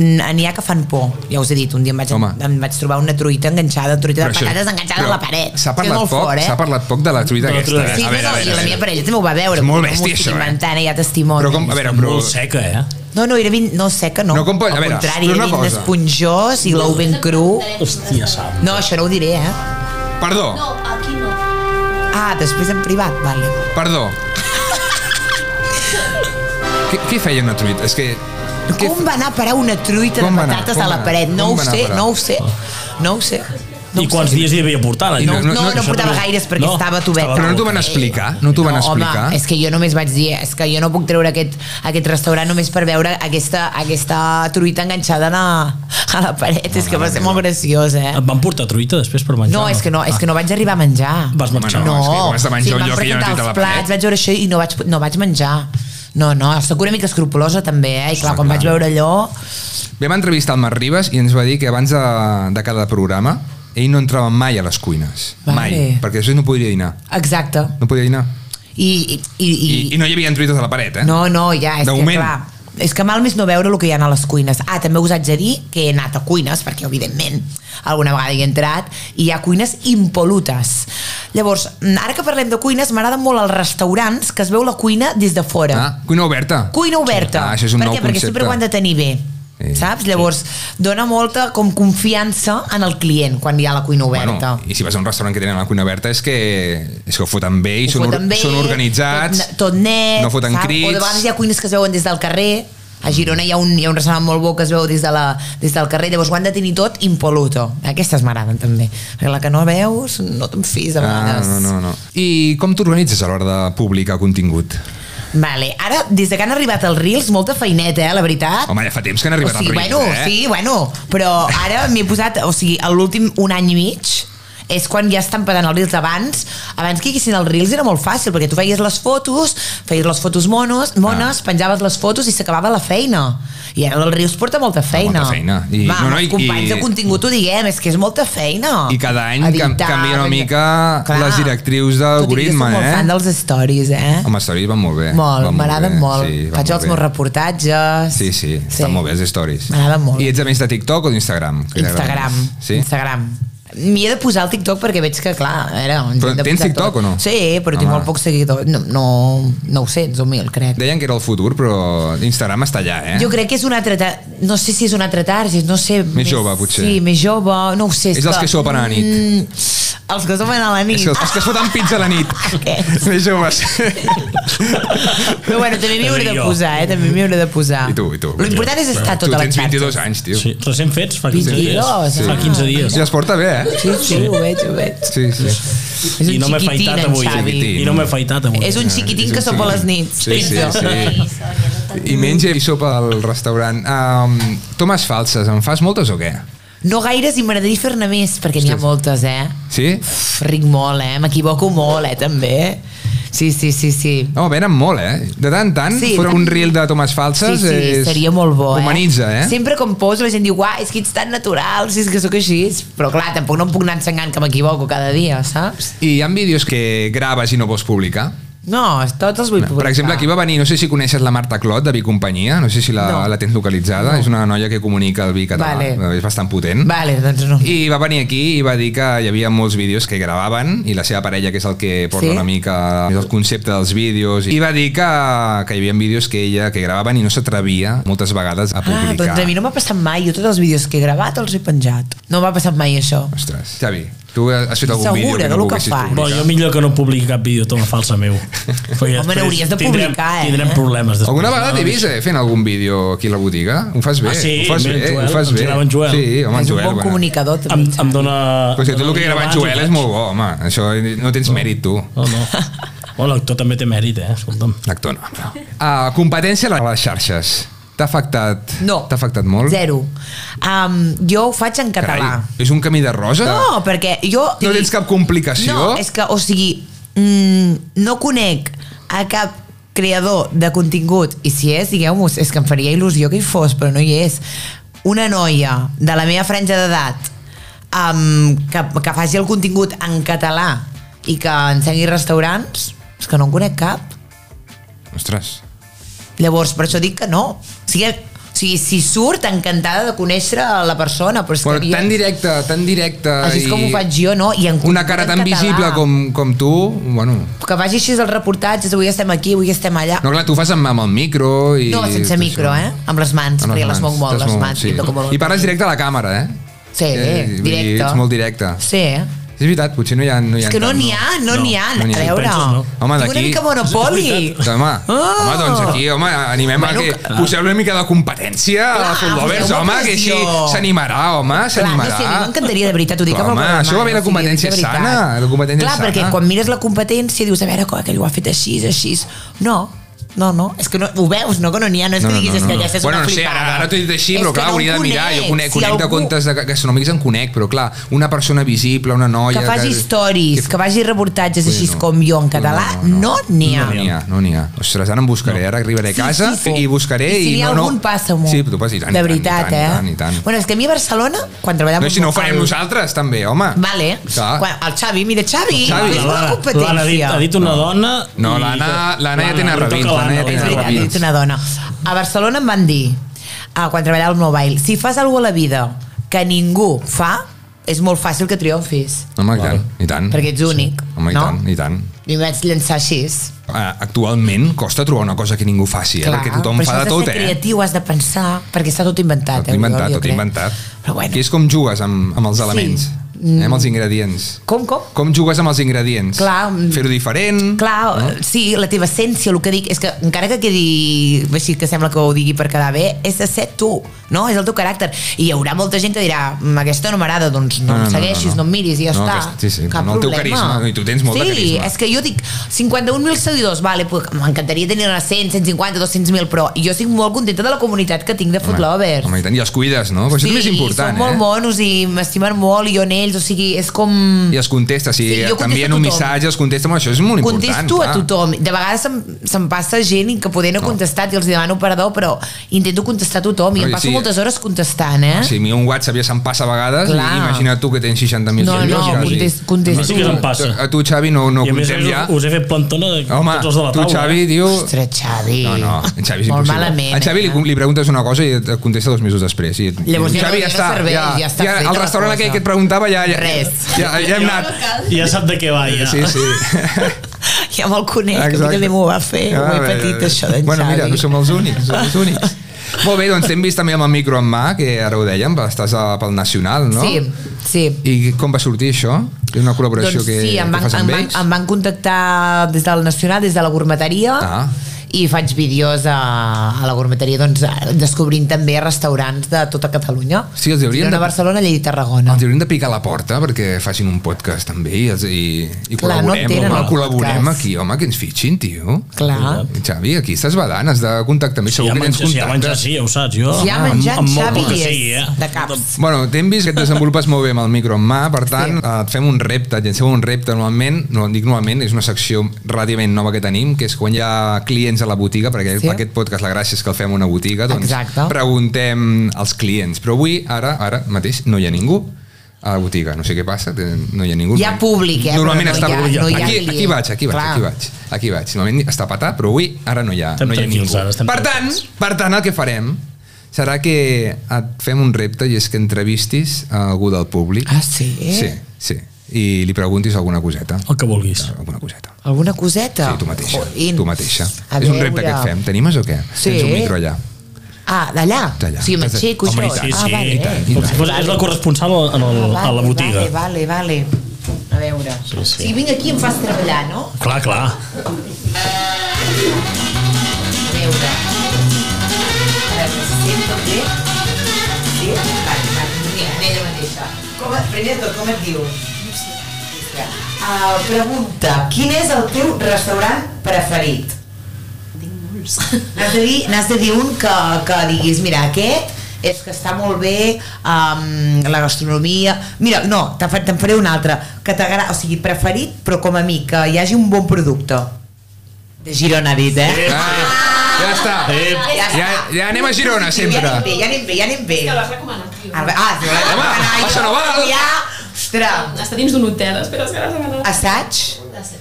Speaker 4: n- n'hi ha que fan por, ja us he dit, un dia em vaig,
Speaker 2: Home.
Speaker 4: em vaig trobar una truita enganxada, truita de
Speaker 2: Però això-
Speaker 4: patates enganxada
Speaker 2: però
Speaker 4: a la paret.
Speaker 2: S'ha
Speaker 4: Que
Speaker 2: parlat,
Speaker 4: molt
Speaker 2: poc,
Speaker 4: fort, eh?
Speaker 2: s'ha parlat poc de la truita
Speaker 3: De la
Speaker 2: aquesta.
Speaker 3: truita
Speaker 2: eh?
Speaker 4: Sí,
Speaker 2: a
Speaker 4: no,
Speaker 2: veure, a
Speaker 4: no,
Speaker 2: veure,
Speaker 4: i
Speaker 2: a
Speaker 4: la meva
Speaker 2: veure.
Speaker 4: parella també ho va veure.
Speaker 2: És molt
Speaker 4: m'ho
Speaker 2: bèstia,
Speaker 4: estic
Speaker 2: això, eh?
Speaker 4: Inventant, eh? hi ha testimoni.
Speaker 2: Però com, a veure, però...
Speaker 3: Molt seca, eh?
Speaker 4: No, no, era vint... No, seca, no.
Speaker 2: No, com pot- a
Speaker 4: Al
Speaker 2: veure,
Speaker 4: contrari,
Speaker 2: però
Speaker 4: era
Speaker 2: una
Speaker 4: vint
Speaker 2: cosa.
Speaker 4: d'esponjós i l'ou ben cru.
Speaker 3: Hòstia, Sam.
Speaker 4: No, això no ho diré, eh?
Speaker 2: Perdó,
Speaker 1: No, aquí no.
Speaker 4: Ah, després en privat, vale.
Speaker 2: perdó. què, què feia una truita? És que... Què
Speaker 4: Com va anar a parar una truita
Speaker 2: Com
Speaker 4: de
Speaker 2: va anar?
Speaker 4: patates
Speaker 2: Com
Speaker 4: a la
Speaker 2: va anar?
Speaker 4: paret? No
Speaker 2: Com
Speaker 4: ho
Speaker 2: va anar a
Speaker 4: sé,
Speaker 2: parar?
Speaker 4: no ho sé. No ho sé. No
Speaker 3: I
Speaker 4: ho
Speaker 3: quants
Speaker 4: sé.
Speaker 3: dies hi havia eh? portant,
Speaker 2: I
Speaker 3: allò?
Speaker 4: No, no, no
Speaker 3: això
Speaker 4: portava
Speaker 3: també-
Speaker 4: gaires perquè estava tovet.
Speaker 2: Però no t'ho van explicar? No t'ho van explicar?
Speaker 4: Home, és que jo només vaig dir, és que jo no puc treure aquest, aquest restaurant només per veure aquesta, aquesta truita enganxada a, a la paret. és que va ser molt graciós, eh?
Speaker 3: Et van portar truita després per menjar?
Speaker 4: No, és que no, és que no vaig arribar a menjar.
Speaker 3: Vas marxar.
Speaker 2: Home,
Speaker 4: No,
Speaker 2: és que com has de menjar un
Speaker 4: em van
Speaker 2: lloc que hi ha una
Speaker 4: presentar
Speaker 2: truita a la
Speaker 4: els plats,
Speaker 2: paret.
Speaker 4: Vaig veure això i no vaig, no vaig menjar. No, no, soc una mica escrupolosa també, eh? I clar, quan vaig veure allò...
Speaker 2: Vam entrevistar el Marc Ribas i ens va dir que abans de, de cada programa ell no entrava mai a les cuines.
Speaker 4: Vale.
Speaker 2: Mai. Perquè després no podria dinar.
Speaker 4: Exacte.
Speaker 2: No podia dinar.
Speaker 4: I, i, i,
Speaker 2: I, I no hi havia truites a la paret, eh?
Speaker 4: No, no, ja, és
Speaker 2: De
Speaker 4: que
Speaker 2: moment.
Speaker 4: clar, és que mal més no veure el que hi ha a les cuines. Ah, també us haig de dir que he anat a cuines, perquè evidentment alguna vegada hi he entrat, i hi ha cuines impolutes. Llavors, mm, ara que parlem de cuines, m'agraden molt els restaurants que es veu la cuina des de fora.
Speaker 2: Ah, cuina oberta.
Speaker 4: Cuina
Speaker 2: Ah,
Speaker 4: oberta.
Speaker 2: això és un
Speaker 4: per
Speaker 2: nou
Speaker 4: què? Perquè
Speaker 2: concepte.
Speaker 4: sempre ho han de tenir bé.
Speaker 2: Sí,
Speaker 4: Sí, saps? Llavors, dona molta com confiança en el client quan hi ha la cuina oberta.
Speaker 2: Bueno, I si vas a un restaurant que tenen la cuina oberta és que, és que ho foten bé i
Speaker 4: Ho
Speaker 2: són, or,
Speaker 4: foten bé,
Speaker 2: són organitzats.
Speaker 4: Tot, tot net.
Speaker 2: No foten
Speaker 4: saps? O de
Speaker 2: crits.
Speaker 4: vegades hi ha cuines que es veuen des del carrer. A Girona hi ha un, hi ha un restaurant molt bo que es veu des, de la, des del carrer. Llavors ho han de tenir tot impoluto. Aquestes m'agraden també. Perquè la que no veus no te'n fis a
Speaker 2: Ah,
Speaker 4: vegades.
Speaker 2: no, no, no. I com t'organitzes a l'hora de publicar contingut?
Speaker 4: Vale, ara, des de que han arribat els Reels, molta feineta, eh, la veritat.
Speaker 2: Home, ja fa temps que han arribat
Speaker 4: o sigui,
Speaker 2: els
Speaker 4: bueno,
Speaker 2: Reels, eh?
Speaker 4: Sí, bueno, però ara m'he posat, o sigui, a l'últim un any i mig és quan ja estan pagant els reels abans abans que hi haguessin els reels era molt fàcil perquè tu feies les fotos, feies les fotos monos,
Speaker 2: Ah.
Speaker 4: mones, penjaves les fotos i s'acabava la feina i ara els reels porta molta feina,
Speaker 2: molta feina. I-
Speaker 4: Va,
Speaker 2: no, no,
Speaker 4: els
Speaker 2: i-
Speaker 4: companys
Speaker 2: i-
Speaker 4: de contingut ho diguem, és que és molta feina
Speaker 2: I cada any cam- canvia una
Speaker 4: penjar-
Speaker 2: mica les directrius d'algoritme,
Speaker 4: Tot i
Speaker 2: eh?
Speaker 4: que jo soc molt fan dels stories eh?
Speaker 2: Home, els stories van molt bé.
Speaker 4: Molt,
Speaker 2: van
Speaker 4: m'agraden
Speaker 2: bé,
Speaker 4: molt.
Speaker 2: sí,
Speaker 4: Sí,
Speaker 2: van
Speaker 4: Faig
Speaker 2: molt
Speaker 4: els
Speaker 2: bé.
Speaker 4: meus reportatges.
Speaker 2: Sí, sí, sí. estan molt bé els stories.
Speaker 4: M'agraden molt.
Speaker 2: I ets a més de TikTok o d'Instagram? Que t'agrada
Speaker 4: Instagram.
Speaker 2: més?
Speaker 4: Sí?
Speaker 2: Sí?
Speaker 4: Instagram. M'hi he de posar el TikTok perquè veig que, clar, era... ens
Speaker 2: Però
Speaker 4: hem de
Speaker 2: tens
Speaker 4: posar
Speaker 2: TikTok
Speaker 4: tot.
Speaker 2: o no?
Speaker 4: Sí, però tinc
Speaker 2: Ah.
Speaker 4: molt pocs seguidors. No, no, 900 o 1.000, crec.
Speaker 2: Deien que era el futur, però Instagram està allà, eh?
Speaker 4: Jo crec que és un altre... Ta... No sé si és un altre target, no sé... Més,
Speaker 2: jove, potser.
Speaker 4: Sí, més jove, no ho sé.
Speaker 2: És dels que sopen a la nit.
Speaker 4: Mm, els que Ah, sopen a la nit. Ah,
Speaker 2: És que els que es foten pizza a la nit.
Speaker 4: Aquests.
Speaker 2: Més joves.
Speaker 4: Però bueno, també m'hi hauré de
Speaker 3: Jo.
Speaker 4: posar, eh? També m'hi hauré de posar.
Speaker 2: I tu, i tu.
Speaker 4: L'important és estar
Speaker 2: tu
Speaker 4: tot a tota la
Speaker 2: tens
Speaker 4: xarxa.
Speaker 2: 22 anys, tio.
Speaker 3: Ah, Sí, recent fets, fa 15
Speaker 4: 22,
Speaker 3: dies. Fa
Speaker 4: ah.
Speaker 3: 15 dies.
Speaker 2: Ja es porta bé, eh?
Speaker 4: Sí, sí, ho veig, ho veig.
Speaker 2: Sí, sí.
Speaker 4: És un
Speaker 3: I no m'he
Speaker 4: xiquitín,
Speaker 3: afaitat
Speaker 4: en
Speaker 3: avui.
Speaker 4: Xavi.
Speaker 3: I no m'he afaitat avui.
Speaker 4: És un xiquitín que sopa a les nits.
Speaker 2: Sí, sí, sí. I menja i sopa al restaurant. Um, tomes falses, en fas moltes o què?
Speaker 4: No gaires i m'agradaria fer-ne més, perquè n'hi ha moltes, eh?
Speaker 2: Sí?
Speaker 4: Uf, ric molt, eh? M'equivoco molt, eh, també. Sí, sí, sí, sí.
Speaker 2: No, venen molt, eh? De tant en tant, sí,
Speaker 4: Sí,
Speaker 2: fora
Speaker 4: tant.
Speaker 2: un reel de tomes
Speaker 4: Sí,
Speaker 2: falses...
Speaker 4: sí,
Speaker 2: és...
Speaker 4: seria molt bo, eh?
Speaker 2: Humanitza, eh?
Speaker 4: Sempre que em poso la gent diu, uah, és que ets tan natural, si és que sóc així. Però clar, tampoc no em puc anar ensenyant que m'equivoco cada dia, saps?
Speaker 2: I hi ha vídeos que graves i no vols publicar?
Speaker 4: No, tots els vull
Speaker 2: Per exemple, aquí va venir, no sé si coneixes la Marta Clot de Vicompanyia, no sé si la,
Speaker 4: No.
Speaker 2: la tens localitzada, és una noia que comunica el vi català,
Speaker 4: Vale.
Speaker 2: és bastant potent.
Speaker 4: Vale, doncs no.
Speaker 2: I va venir aquí i va dir que hi havia molts vídeos que gravaven i la seva parella, que és el que porta
Speaker 4: Sí?
Speaker 2: una mica més el concepte dels vídeos, i va dir que, que hi havia vídeos que ella que gravaven i no s'atrevia moltes vegades a
Speaker 4: Ah,
Speaker 2: publicar.
Speaker 4: doncs a mi no m'ha passat mai. Jo tots els vídeos que he gravat els he penjat. No m'ha passat mai això.
Speaker 2: Ostres, Xavi, tu has fet algun
Speaker 4: Segura
Speaker 2: vídeo que
Speaker 4: de
Speaker 2: no
Speaker 4: lo que
Speaker 2: volguessis
Speaker 4: fa.
Speaker 3: Bo,
Speaker 2: publicar?
Speaker 3: jo millor que no publiqui cap vídeo toma falsa meu. Perquè
Speaker 4: Home,
Speaker 3: després
Speaker 4: n'hauries de
Speaker 3: tindrem-
Speaker 4: publicar, eh?
Speaker 3: Tindrem problemes després.
Speaker 2: Alguna vegada
Speaker 3: No,
Speaker 2: t'he vist eh, fent algun vídeo aquí a la botiga? Ho fas bé,
Speaker 3: Ah, sí?
Speaker 2: ho fas
Speaker 3: Mira,
Speaker 2: bé,
Speaker 3: en Joel,
Speaker 2: ho fas
Speaker 3: ens
Speaker 2: bé.
Speaker 3: agrada en Joel.
Speaker 2: Sí, home, en
Speaker 4: és un
Speaker 2: Joel.
Speaker 4: bon
Speaker 2: bueno.
Speaker 4: comunicador, també.
Speaker 3: Em, em dona...
Speaker 2: Però si tu el que grava en
Speaker 3: abans,
Speaker 2: Joel és
Speaker 3: ho faig.
Speaker 2: molt bo, home. Això no tens mèrit, tu.
Speaker 3: No, no. Bueno, l'actor també té mèrit, eh? Escolta'm.
Speaker 2: L'actor no. però. Ah, competència a les xarxes. T'ha afectat?
Speaker 4: No.
Speaker 2: T'ha afectat molt?
Speaker 4: Zero. Um, jo ho faig en català.
Speaker 2: Carai, és un camí de rosa?
Speaker 4: No, perquè jo...
Speaker 2: Ah. No tens cap complicació?
Speaker 4: No, és que, o sigui, mm, no conec a cap creador de contingut, i si és, digueu-m'ho, és que em faria il·lusió que hi fos, però no hi és, una noia de la meva franja d'edat um, que, que faci el contingut en català i que ensengui restaurants, és que no en conec cap.
Speaker 2: Ostres.
Speaker 4: Llavors, per això dic que no. O sigui, o sigui si surt, encantada de conèixer la persona, però és
Speaker 2: Però
Speaker 4: que...
Speaker 2: tan
Speaker 4: aviam,
Speaker 2: directe, tan directe...
Speaker 4: Així és com ho faig jo, no? I en
Speaker 2: Una cara tan
Speaker 4: català.
Speaker 2: visible com, com tu, bueno...
Speaker 4: Que vagi així els reportatges, avui estem aquí, avui estem allà.
Speaker 2: No, clar, tu ho fas amb, amb el micro i...
Speaker 4: No, sense
Speaker 2: tot
Speaker 4: micro,
Speaker 2: això.
Speaker 4: eh? Amb les mans,
Speaker 2: Amb
Speaker 4: perquè les moc molt,
Speaker 2: t'has
Speaker 4: les
Speaker 2: mogut,
Speaker 4: mans. i toco molt
Speaker 2: I parles directe a la càmera, eh?
Speaker 4: Sí,
Speaker 2: Eh, vull dir,
Speaker 4: directe.
Speaker 2: Ets molt directe.
Speaker 4: Sí, eh?
Speaker 2: És veritat, potser no hi ha... No hi ha
Speaker 4: és que no
Speaker 2: tant,
Speaker 4: n'hi ha, no
Speaker 3: No,
Speaker 4: n'hi ha,
Speaker 2: no n'hi
Speaker 4: a
Speaker 2: ha.
Speaker 4: veure.
Speaker 3: Penses, no?
Speaker 2: Home,
Speaker 4: Tinc una
Speaker 2: d'aquí-
Speaker 4: mica monopoli.
Speaker 2: Home,
Speaker 4: Oh!
Speaker 2: home, doncs aquí, home, animem bueno,
Speaker 4: Bueno,
Speaker 2: a que Ah.
Speaker 4: clar.
Speaker 2: poseu una mica de competència a la
Speaker 4: Clar,
Speaker 2: Full Lovers,
Speaker 4: poseu-me
Speaker 2: home, que així
Speaker 4: pressió.
Speaker 2: s'animarà, home,
Speaker 4: Clar, no
Speaker 2: s'animarà.
Speaker 4: sé, a mi m'encantaria, de veritat, ho dic
Speaker 2: Clar,
Speaker 4: amb el
Speaker 2: home,
Speaker 4: cor de
Speaker 2: això va bé
Speaker 4: mare,
Speaker 2: la
Speaker 4: o sigui,
Speaker 2: competència
Speaker 4: de veritat.
Speaker 2: sana, la competència
Speaker 4: Clar,
Speaker 2: sana.
Speaker 4: perquè quan mires la competència dius, a veure, coi, aquell ho ha fet així, així. No, no, no, és que no, ho veus, no, que no n'hi ha, no és que diguis, és que aquesta és
Speaker 2: bueno,
Speaker 4: una
Speaker 2: no sé,
Speaker 4: flipada.
Speaker 2: ara, ara t'ho he dit així,
Speaker 4: És
Speaker 2: però
Speaker 4: que
Speaker 2: clar,
Speaker 4: no ho
Speaker 2: hauria de mirar, jo conec,
Speaker 4: Si
Speaker 2: conec de
Speaker 4: algú-
Speaker 2: comptes de gastronòmics en conec, però clar, una persona visible, una noia...
Speaker 4: Que faci stories, que vagi reportatges
Speaker 2: Vull dir,
Speaker 4: així
Speaker 2: no.
Speaker 4: com jo en català, no n'hi ha.
Speaker 2: No n'hi ha, no n'hi ha. Ostres, ara em buscaré, ara arribaré a
Speaker 4: Sí,
Speaker 2: casa
Speaker 4: sí, sí.
Speaker 2: i buscaré...
Speaker 4: I si n'hi ha
Speaker 2: no, no...
Speaker 4: algun, passa-m'ho.
Speaker 2: Sí, tu passis, i tant, i tant,
Speaker 4: De
Speaker 2: i
Speaker 4: veritat,
Speaker 2: tant, i
Speaker 4: eh?
Speaker 2: tant, i tant.
Speaker 4: Bueno, és que a mi a Barcelona, quan treballava...
Speaker 2: No, si
Speaker 4: amb
Speaker 2: no ho farem
Speaker 4: local-
Speaker 2: nosaltres, també, home.
Speaker 4: Vale.
Speaker 2: Clar.
Speaker 4: Quan, el Xavi, mira, Xavi,
Speaker 2: Xavi.
Speaker 4: Xavi. és una
Speaker 3: L'Anna ha dit,
Speaker 4: competència.
Speaker 3: ha dit una dona...
Speaker 2: No,
Speaker 3: i-
Speaker 2: l'Anna- l'Anna ja té
Speaker 3: li toca
Speaker 2: nervis,
Speaker 3: a
Speaker 2: l'Anna ja té
Speaker 4: És veritat,
Speaker 2: nervis.
Speaker 4: ha dit una dona. A Barcelona em van dir, ah, quan treballava al Mobile, si fas alguna a la vida que ningú fa, és molt fàcil que triomfis,
Speaker 2: Home, i tant, i tant.
Speaker 4: perquè ets únic,
Speaker 2: Home, i
Speaker 4: no?
Speaker 2: tant, i tant.
Speaker 4: I em vaig llançar així.
Speaker 2: Ah, Actualment costa trobar una cosa que ningú faci, eh? perquè tothom
Speaker 4: però
Speaker 2: fa
Speaker 4: això has
Speaker 2: de tot,
Speaker 4: ser
Speaker 2: eh?
Speaker 4: creatiu, has de pensar, perquè està tot inventat.
Speaker 2: Tot
Speaker 4: eh,
Speaker 2: inventat,
Speaker 4: Oriol, jo
Speaker 2: tot
Speaker 4: crec.
Speaker 2: inventat.
Speaker 4: Però bueno.
Speaker 2: Aquí és com jugues amb, amb els
Speaker 4: Sí.
Speaker 2: elements, eh? amb els ingredients.
Speaker 4: Com, com?
Speaker 2: Com jugues amb els ingredients?
Speaker 4: Clar, mm.
Speaker 2: Fer-ho diferent?
Speaker 4: Clar, eh? sí, la teva essència, el que dic, és que encara que quedi així que sembla que ho digui per quedar bé, és de ser tu, no? És el teu caràcter. I hi haurà molta gent que dirà, "Mm, aquesta no m'agrada, doncs no, no, no segueixis, no, no. no em miris i ja
Speaker 2: No,
Speaker 4: està.
Speaker 2: aquest- sí, sí, no, el teu carisma, i tu tens molt
Speaker 4: sí,
Speaker 2: de carisma.
Speaker 4: Sí, és que jo dic 51.000 seguidors, vale, pues, m'encantaria tenir-ne 100, 150, 200.000, però jo estic molt contenta de la comunitat que tinc de Food Lovers.
Speaker 2: Home, i tant, i els cuides, no? Però això també és important,
Speaker 4: són molt
Speaker 2: eh?
Speaker 4: monos i m'estimen molt i jo en ells, o sigui, és com...
Speaker 2: I els contestes, si
Speaker 4: Mm. Sí, jo contesto
Speaker 2: t'envien un
Speaker 4: a tothom.
Speaker 2: missatge, els contestes, home, això és molt important.
Speaker 4: Contesto
Speaker 2: clar.
Speaker 4: a tothom. De vegades se'm, se'm passa gent i que poder no, he contestat i els demano perdó, però intento contestar a tothom i
Speaker 2: Però
Speaker 4: em
Speaker 2: i
Speaker 4: passo
Speaker 2: sí,
Speaker 4: moltes hores contestant, eh?
Speaker 2: Si a mi un WhatsApp ja se'n passa a vegades,
Speaker 4: Clar.
Speaker 2: i imagina't tu que tens 60.000
Speaker 4: No,
Speaker 2: seguidors.
Speaker 4: no,
Speaker 2: quasi.
Speaker 4: contest- contesto.
Speaker 3: A mi sí que se'm passa.
Speaker 2: A tu, Xavi, no, no
Speaker 3: I a més,
Speaker 2: comptem ja.
Speaker 3: us he fet plantona de
Speaker 2: Home,
Speaker 3: tots els de la
Speaker 2: tu,
Speaker 3: taula. eh?
Speaker 2: Xavi, diu...
Speaker 4: Ostres, Xavi.
Speaker 2: No, no, en Xavi és
Speaker 4: Molt
Speaker 2: impossible.
Speaker 4: malament.
Speaker 2: en Xavi li,
Speaker 4: eh?
Speaker 2: li preguntes una cosa i et et contesta dos mesos després. I, et-
Speaker 4: Llavors
Speaker 2: diu,
Speaker 4: ja no-
Speaker 2: Xavi
Speaker 4: ja no serveix, ja està feta
Speaker 2: el
Speaker 4: la
Speaker 2: restaurant
Speaker 4: cosa.
Speaker 2: aquell que et preguntava ja... ja
Speaker 4: Res.
Speaker 2: Ja, ja hem anat.
Speaker 3: eh? Ja sap de què va, ja.
Speaker 2: Sí, sí.
Speaker 4: Ja me'l conec, que a mi
Speaker 2: Exacte.
Speaker 4: també m'ho va fer.
Speaker 2: Ah,
Speaker 4: ho he
Speaker 2: bé,
Speaker 4: patit,
Speaker 2: bé.
Speaker 4: això d'en
Speaker 2: Bueno,
Speaker 4: Xavi.
Speaker 2: mira, no som els únics, som els únics. Molt bé, doncs t'hem vist també amb el micro en mà, que ara ho dèiem, estàs a- pel Nacional, no?
Speaker 4: Sí, sí.
Speaker 2: I com va sortir això? És una col·laboració
Speaker 4: Doncs
Speaker 2: que,
Speaker 4: sí, em
Speaker 2: que
Speaker 4: van,
Speaker 2: fas
Speaker 4: em,
Speaker 2: amb
Speaker 4: van,
Speaker 2: ells?
Speaker 4: em van contactar des del Nacional, des de la gourmeteria,
Speaker 2: Ah.
Speaker 4: i faig vídeos a, a la gourmeteria, doncs, descobrint també restaurants de tota Catalunya.
Speaker 2: Sí, els haurien
Speaker 4: Girona,
Speaker 2: de-
Speaker 4: Barcelona, Lleida i Tarragona.
Speaker 2: Els hauríem de picar a la porta perquè facin un podcast també i, els, i, i
Speaker 4: Clar, no
Speaker 2: col·laborem,
Speaker 4: tenen
Speaker 2: home,
Speaker 4: el
Speaker 2: col·laborem
Speaker 4: podcast.
Speaker 2: aquí, home, que ens fitxin, tio.
Speaker 4: Clar.
Speaker 2: Xavi, aquí estàs badant, has de contactar amb ells,
Speaker 3: Si
Speaker 2: segur
Speaker 3: ha
Speaker 2: que tens
Speaker 3: menjat, si ha menjat,
Speaker 2: contactes.
Speaker 3: sí, ja ho saps, jo.
Speaker 4: Si ha
Speaker 2: Ah,
Speaker 3: Amb-
Speaker 4: menjat,
Speaker 3: amb molt
Speaker 4: Xavi
Speaker 3: poc que
Speaker 4: és
Speaker 3: sigui, eh?
Speaker 4: de caps.
Speaker 2: Bueno, t'hem vist que et desenvolupes molt bé amb el micro en mà, per tant, sí. et fem un repte, et llancem un repte normalment, no en dic normalment, és una secció relativament nova que tenim, que és quan hi ha clients a la botiga, perquè
Speaker 4: Sí.
Speaker 2: sí. aquest podcast la gràcia és que el fem a una botiga, doncs
Speaker 4: Exacte.
Speaker 2: preguntem als clients. Però avui, ara, ara mateix, no hi ha ningú a la botiga, no sé què passa, té- no hi ha ningú.
Speaker 4: Hi ha públic, eh,
Speaker 2: Normalment
Speaker 4: però no
Speaker 2: està
Speaker 4: hi ha-
Speaker 2: públic.
Speaker 4: no hi ha
Speaker 2: aquí,
Speaker 4: client.
Speaker 2: aquí vaig, aquí vaig,
Speaker 4: Clar.
Speaker 2: aquí vaig, aquí vaig. Normalment està patat, però avui ara no hi ha,
Speaker 3: Estem
Speaker 2: no hi ha
Speaker 3: tranquils,
Speaker 2: ningú.
Speaker 3: ara estem
Speaker 2: per tant,
Speaker 3: tranquils.
Speaker 2: per tant, el que farem serà que et fem un repte i és que entrevistis a algú del públic.
Speaker 4: Ah, sí?
Speaker 2: Sí, sí. I li preguntis alguna coseta.
Speaker 3: El que vulguis.
Speaker 2: Alguna coseta.
Speaker 4: Alguna coseta?
Speaker 2: Sí, tu mateixa.
Speaker 4: Joder.
Speaker 2: Tu mateixa.
Speaker 4: Ah, A
Speaker 2: és un
Speaker 4: veure.
Speaker 2: repte que et fem. T'animes o què?
Speaker 4: Sí.
Speaker 2: Tens un micro allà.
Speaker 4: Ah, d'allà?
Speaker 2: D'allà.
Speaker 4: O sigui, m'aixeco i
Speaker 2: Home,
Speaker 4: això.
Speaker 2: i tant,
Speaker 4: ah,
Speaker 3: sí,
Speaker 4: vale.
Speaker 3: i
Speaker 2: tant, i
Speaker 3: Com si
Speaker 2: tant.
Speaker 3: fos, és la corresponsal en el,
Speaker 4: Ah,
Speaker 3: a la
Speaker 4: vale,
Speaker 3: botiga.
Speaker 4: Vale, vale, vale. A veure. Sí, sí. O sigui, vinc aquí i em fas treballar, no?
Speaker 3: Clar, clar.
Speaker 4: A veure. A veure, si sento bé. Sí? Vale, vale. Mira, en ella mateixa. Com et, primer de tot, com et dius? Uh, pregunta, quin és el teu restaurant preferit? N'has de, dir, n'has de dir un que, que diguis, mira, aquest és que està molt bé um, la gastronomia... Mira, no, te'n fa- te'n faré un altre, que t'agrada, o sigui, preferit, però com a mi, que hi hagi un bon producte. De Girona, ha dit, eh?
Speaker 3: Eh,
Speaker 2: Ah, Ja està.
Speaker 3: eh,
Speaker 2: Ja, ja anem a Girona,
Speaker 4: Ja anem
Speaker 2: sempre.
Speaker 4: bé, ja anem bé, ja anem bé. Que l'has recomanat, Ah, sí, l'has
Speaker 2: Home,
Speaker 4: recomanat.
Speaker 2: això no val.
Speaker 4: Ja, ostres.
Speaker 5: Està dins d'un hotel, espera, espera, espera.
Speaker 4: Assaig?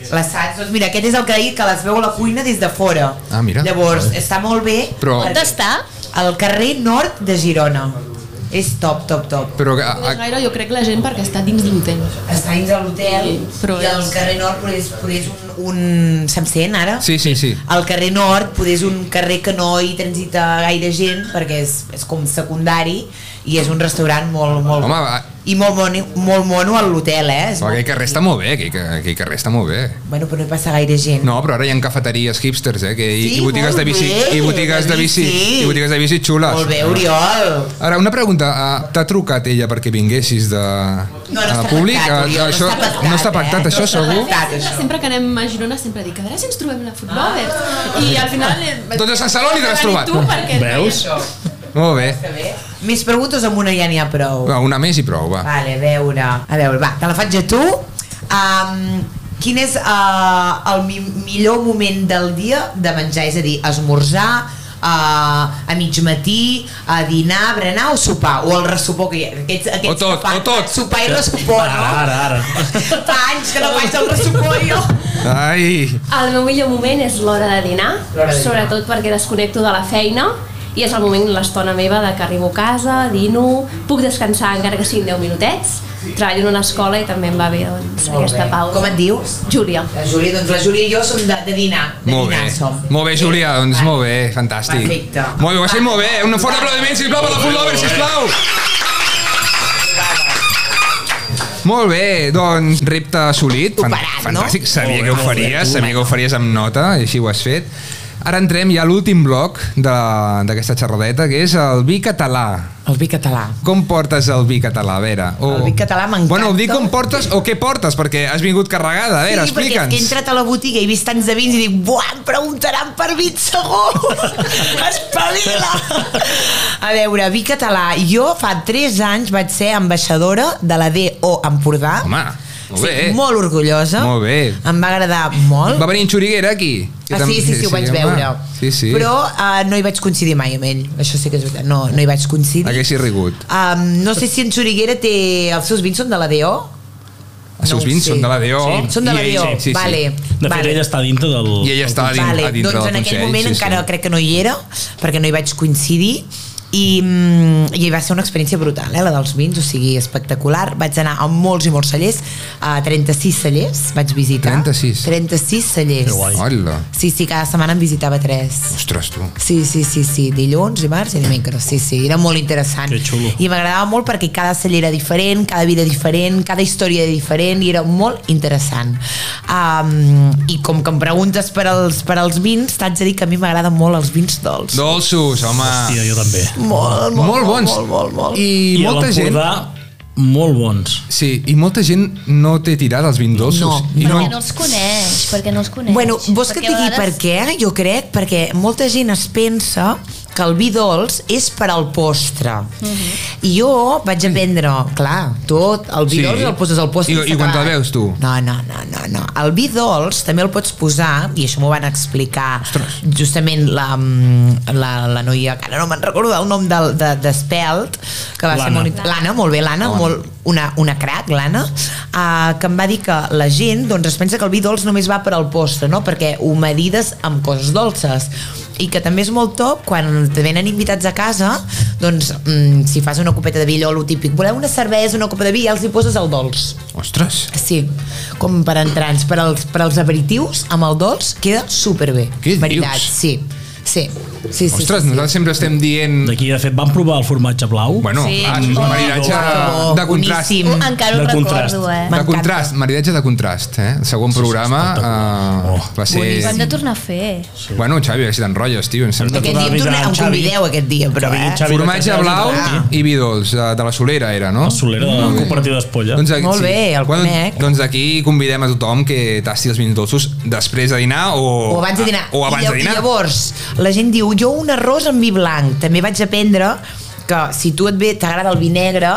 Speaker 4: Les sats, doncs mira, aquest és el que he dit, que les veu a la cuina des de fora.
Speaker 2: Ah, mira.
Speaker 4: Llavors,
Speaker 2: Vale.
Speaker 4: està molt bé.
Speaker 2: Però-
Speaker 1: On està?
Speaker 4: Al carrer nord de Girona. És top, top, top.
Speaker 2: Però ah, a,
Speaker 5: No és
Speaker 2: a,
Speaker 5: gaire, jo crec, la gent perquè està dins l'hotel.
Speaker 4: Està dins de l'hotel
Speaker 5: Però
Speaker 4: i al
Speaker 5: és-
Speaker 4: carrer nord però és, però és un, un... Se'm sent ara?
Speaker 2: sí, sí, sí.
Speaker 4: El carrer Nord poder és un carrer que no hi transita gaire gent perquè és, és com secundari i és un restaurant molt, molt
Speaker 2: Home, va.
Speaker 4: i molt mono, molt mono a l'hotel, eh? És
Speaker 2: Però aquell
Speaker 4: molt...
Speaker 2: carrer està molt bé, aquell, ca- aquell carrer està molt bé.
Speaker 4: Bueno, però no hi passa gaire gent.
Speaker 2: No, però ara hi ha cafeteries hipsters, eh? Que, i,
Speaker 4: Sí,
Speaker 2: I botigues
Speaker 4: molt
Speaker 2: de bici,
Speaker 4: bé,
Speaker 2: i botigues de bici,
Speaker 4: sí.
Speaker 2: i botigues de bici xules.
Speaker 4: Molt bé, Oriol.
Speaker 2: Ara, una pregunta. ah, T'ha trucat ella perquè vinguessis de
Speaker 4: No, no
Speaker 2: a
Speaker 4: està
Speaker 2: públic?
Speaker 4: pactat,
Speaker 2: Ah,
Speaker 4: Oriol, no
Speaker 2: això,
Speaker 4: està pactat,
Speaker 2: no està pactat,
Speaker 4: eh?
Speaker 2: això
Speaker 4: No està
Speaker 2: segur?
Speaker 4: pactat. Clar,
Speaker 5: Sempre,
Speaker 4: això.
Speaker 5: sempre que anem a Girona sempre dic, a veure si ens trobem la Food Lovers. I al final... eh,
Speaker 2: Doncs a Sant Celoni te Ah. l'has
Speaker 5: vas
Speaker 2: trobat.
Speaker 5: venir Tu, perquè
Speaker 3: Veus?
Speaker 2: Molt bé.
Speaker 4: Més preguntes amb una ja n'hi ha prou.
Speaker 2: Va, una més i prou, va.
Speaker 4: Vale, a veure. A veure, va, te la faig a tu. Um, quin és uh, el mi millor moment del dia de menjar? És a dir, esmorzar, uh, a mig matí, a dinar, berenar o sopar? O el ressopor que hi ha? Aquests, aquests
Speaker 2: O tot,
Speaker 4: que fan,
Speaker 2: o tot.
Speaker 4: Sopar i ressopor,
Speaker 3: Ara,
Speaker 4: no?
Speaker 3: ara, ara.
Speaker 4: Fa anys que no faig el ressopor jo.
Speaker 2: Ai,
Speaker 6: El meu millor moment és l'hora de dinar,
Speaker 4: L'hora de dinar.
Speaker 6: sobretot perquè desconnecto de la feina i és el moment, l'estona meva, de que arribo a casa, dino, puc descansar encara que siguin 10 minutets, treballo en una escola i també em va bé doncs,
Speaker 4: Molt
Speaker 6: aquesta
Speaker 4: bé.
Speaker 6: pausa.
Speaker 4: Com et dius?
Speaker 6: Júlia.
Speaker 4: La Júlia, doncs la Júlia i jo som de, de dinar. De
Speaker 2: molt bé.
Speaker 4: dinar som.
Speaker 2: Molt bé, Julià, doncs
Speaker 4: Va.
Speaker 2: molt bé, fantàstic.
Speaker 4: Perfecte.
Speaker 2: Molt bé, ho has fet molt bé. Un fort aplaudiment, sisplau, per la Full Lover, sisplau. Molt bé, doncs repte assolit. Fan-
Speaker 4: Superat, no?
Speaker 2: Fantàstic, sabia
Speaker 3: Molt
Speaker 2: que ho
Speaker 3: bé, molt bé,
Speaker 2: faries,
Speaker 3: tu,
Speaker 2: sabia que ho faries amb nota, i així ho has fet. Ara entrem ja a l'últim bloc de- d'aquesta xerradeta, que és el vi català.
Speaker 4: El vi català.
Speaker 2: Com portes el vi català, a veure? O...
Speaker 4: El vi català m'encanta.
Speaker 2: Bueno, dic com portes o què portes, perquè has vingut carregada, a veure,
Speaker 4: sí, perquè és que he
Speaker 2: explica'ns.
Speaker 4: entrat a la botiga i he vist tants de vins i dic, buah, em preguntaran per vins segur! Espavila! A veure, vi català. Jo fa 3 anys vaig ser ambaixadora de la DO Empordà.
Speaker 2: Home, molt bé.
Speaker 4: Sí, molt orgullosa.
Speaker 2: Molt bé.
Speaker 4: Em va agradar molt.
Speaker 2: Va venir en Xuriguera aquí.
Speaker 4: Ah, sí, sí, sí, ho vaig
Speaker 2: home.
Speaker 4: veure.
Speaker 2: Sí, sí.
Speaker 4: Però uh, no hi vaig coincidir mai amb ell. Això sí que és veritat. No, no hi vaig coincidir.
Speaker 2: Haguessis rigut.
Speaker 4: Um, no sé si en Xuriguera té... Els seus vins són de la DO?
Speaker 2: Els seus
Speaker 4: ho
Speaker 2: vins
Speaker 4: sé.
Speaker 2: són de la DO.
Speaker 3: Sí,
Speaker 4: Són de la
Speaker 2: I
Speaker 4: DO,
Speaker 2: ell- sí, sí.
Speaker 4: vale.
Speaker 3: De fet,
Speaker 4: vale.
Speaker 3: ella està dintre del...
Speaker 2: I ella està a din-
Speaker 4: Vale,
Speaker 2: a dintre
Speaker 4: doncs
Speaker 2: del
Speaker 4: en aquell
Speaker 2: Consell,
Speaker 4: moment
Speaker 2: sí, sí.
Speaker 4: encara crec que no hi era, perquè no hi vaig coincidir, i, mm, i va ser una experiència brutal, eh, la dels vins, o sigui, espectacular. Vaig anar a molts i molts cellers, a 36 cellers vaig visitar.
Speaker 2: 36?
Speaker 4: 36 cellers.
Speaker 3: Que guai.
Speaker 2: Hola.
Speaker 4: Sí, sí, cada setmana en visitava tres.
Speaker 2: Ostres, tu.
Speaker 4: Sí, sí, sí, sí, dilluns, dimarts i dimecres, sí, sí, era molt interessant.
Speaker 3: Que xulo.
Speaker 4: I m'agradava molt perquè cada celler era diferent, cada vida diferent, cada història diferent i era molt interessant. Um, I com que em preguntes per als, per als vins, t'haig de dir que a mi m'agraden molt els vins dolç.
Speaker 2: Dolços, home.
Speaker 3: Tia, jo també.
Speaker 4: Molt, molt,
Speaker 2: Molt bons.
Speaker 4: Molt, molt, molt.
Speaker 2: I,
Speaker 3: I, a
Speaker 2: molta gent...
Speaker 3: l'Empordà, molt bons.
Speaker 2: Sí, i molta gent no té tirada els vins dolços.
Speaker 4: No,
Speaker 2: I
Speaker 1: Perquè no els coneix, perquè no els coneix.
Speaker 4: Bueno, vols que
Speaker 1: Perquè
Speaker 4: et
Speaker 1: a
Speaker 4: digui per
Speaker 1: vegades-
Speaker 4: què? Jo crec perquè molta gent es pensa que el vi dolç és per al postre.
Speaker 1: Mhm.
Speaker 4: I jo vaig aprendre, clar, tot, el vi
Speaker 2: Sí.
Speaker 4: dolç el poses al postre.
Speaker 2: I-
Speaker 4: s'ha
Speaker 2: i quan te'l
Speaker 4: acabat.
Speaker 2: veus, tu?
Speaker 4: No, no, no, no, no. El vi dolç també el pots posar, i això m'ho van explicar justament la, mm, la, la noia, que ara no me'n recordo el nom del, de, d'Espelt, que va ser
Speaker 3: L'Anna.
Speaker 4: molt... L'Anna, molt bé, l'Anna, molt, una, una crac, l'Anna, eh, que em va dir que la gent doncs, es pensa que el vi dolç només va per al postre, no? perquè ho medides amb coses dolces i que també és molt top quan te venen invitats a casa doncs mm, si fas una copeta de vi allò lo típic voleu una cervesa, una copa de vi i ja els hi poses el dolç
Speaker 2: Ostres,
Speaker 4: Sí, com per entrants, per als, per als aperitius, amb el dolç, queda superbé.
Speaker 2: Què dius?
Speaker 4: Veritat, sí. Sí, sí, sí.
Speaker 2: ostres,
Speaker 4: sí, sí.
Speaker 2: nosaltres sempre estem dient...
Speaker 3: D'aquí, de fet, van provar el formatge blau.
Speaker 2: Bueno,
Speaker 1: Sí.
Speaker 2: clar, és un maridatge
Speaker 4: Oh,
Speaker 2: ah, de contrast.
Speaker 4: boníssim.
Speaker 1: Oh, encara ho
Speaker 3: De contrast.
Speaker 1: recordo, eh?
Speaker 2: De
Speaker 4: M'encanta.
Speaker 2: contrast, maridatge de contrast, eh? El segon programa
Speaker 3: espectacular.
Speaker 2: eh,
Speaker 3: Oh.
Speaker 2: va
Speaker 1: Ho hem
Speaker 2: ser...
Speaker 1: de tornar a fer.
Speaker 2: Bueno, Xavi, així t'enrotlles, tio, em sembla.
Speaker 4: Aquest
Speaker 3: Torna a
Speaker 4: dia em
Speaker 3: avisar
Speaker 4: torneu-
Speaker 3: en
Speaker 4: em
Speaker 3: Xavi.
Speaker 4: convideu aquest dia, però,
Speaker 3: Xavi,
Speaker 4: eh? Ah.
Speaker 3: en Xavi,
Speaker 2: Formatge
Speaker 3: de
Speaker 2: blau
Speaker 3: Casals,
Speaker 2: i vi dolç, de, de la Solera era, no?
Speaker 3: La solera de la cooperativa d'Espolla.
Speaker 2: Doncs aquí,
Speaker 4: Molt bé, el conec.
Speaker 2: Doncs aquí convidem a tothom que tasti els vins dolços després de dinar o... Ah,
Speaker 4: O abans de dinar.
Speaker 2: O abans
Speaker 4: I,
Speaker 2: de
Speaker 4: llav-
Speaker 2: dinar.
Speaker 4: I llavors, la gent diu, jo un arròs amb vi blanc. També vaig aprendre que si tu et ve t'agrada el vi negre,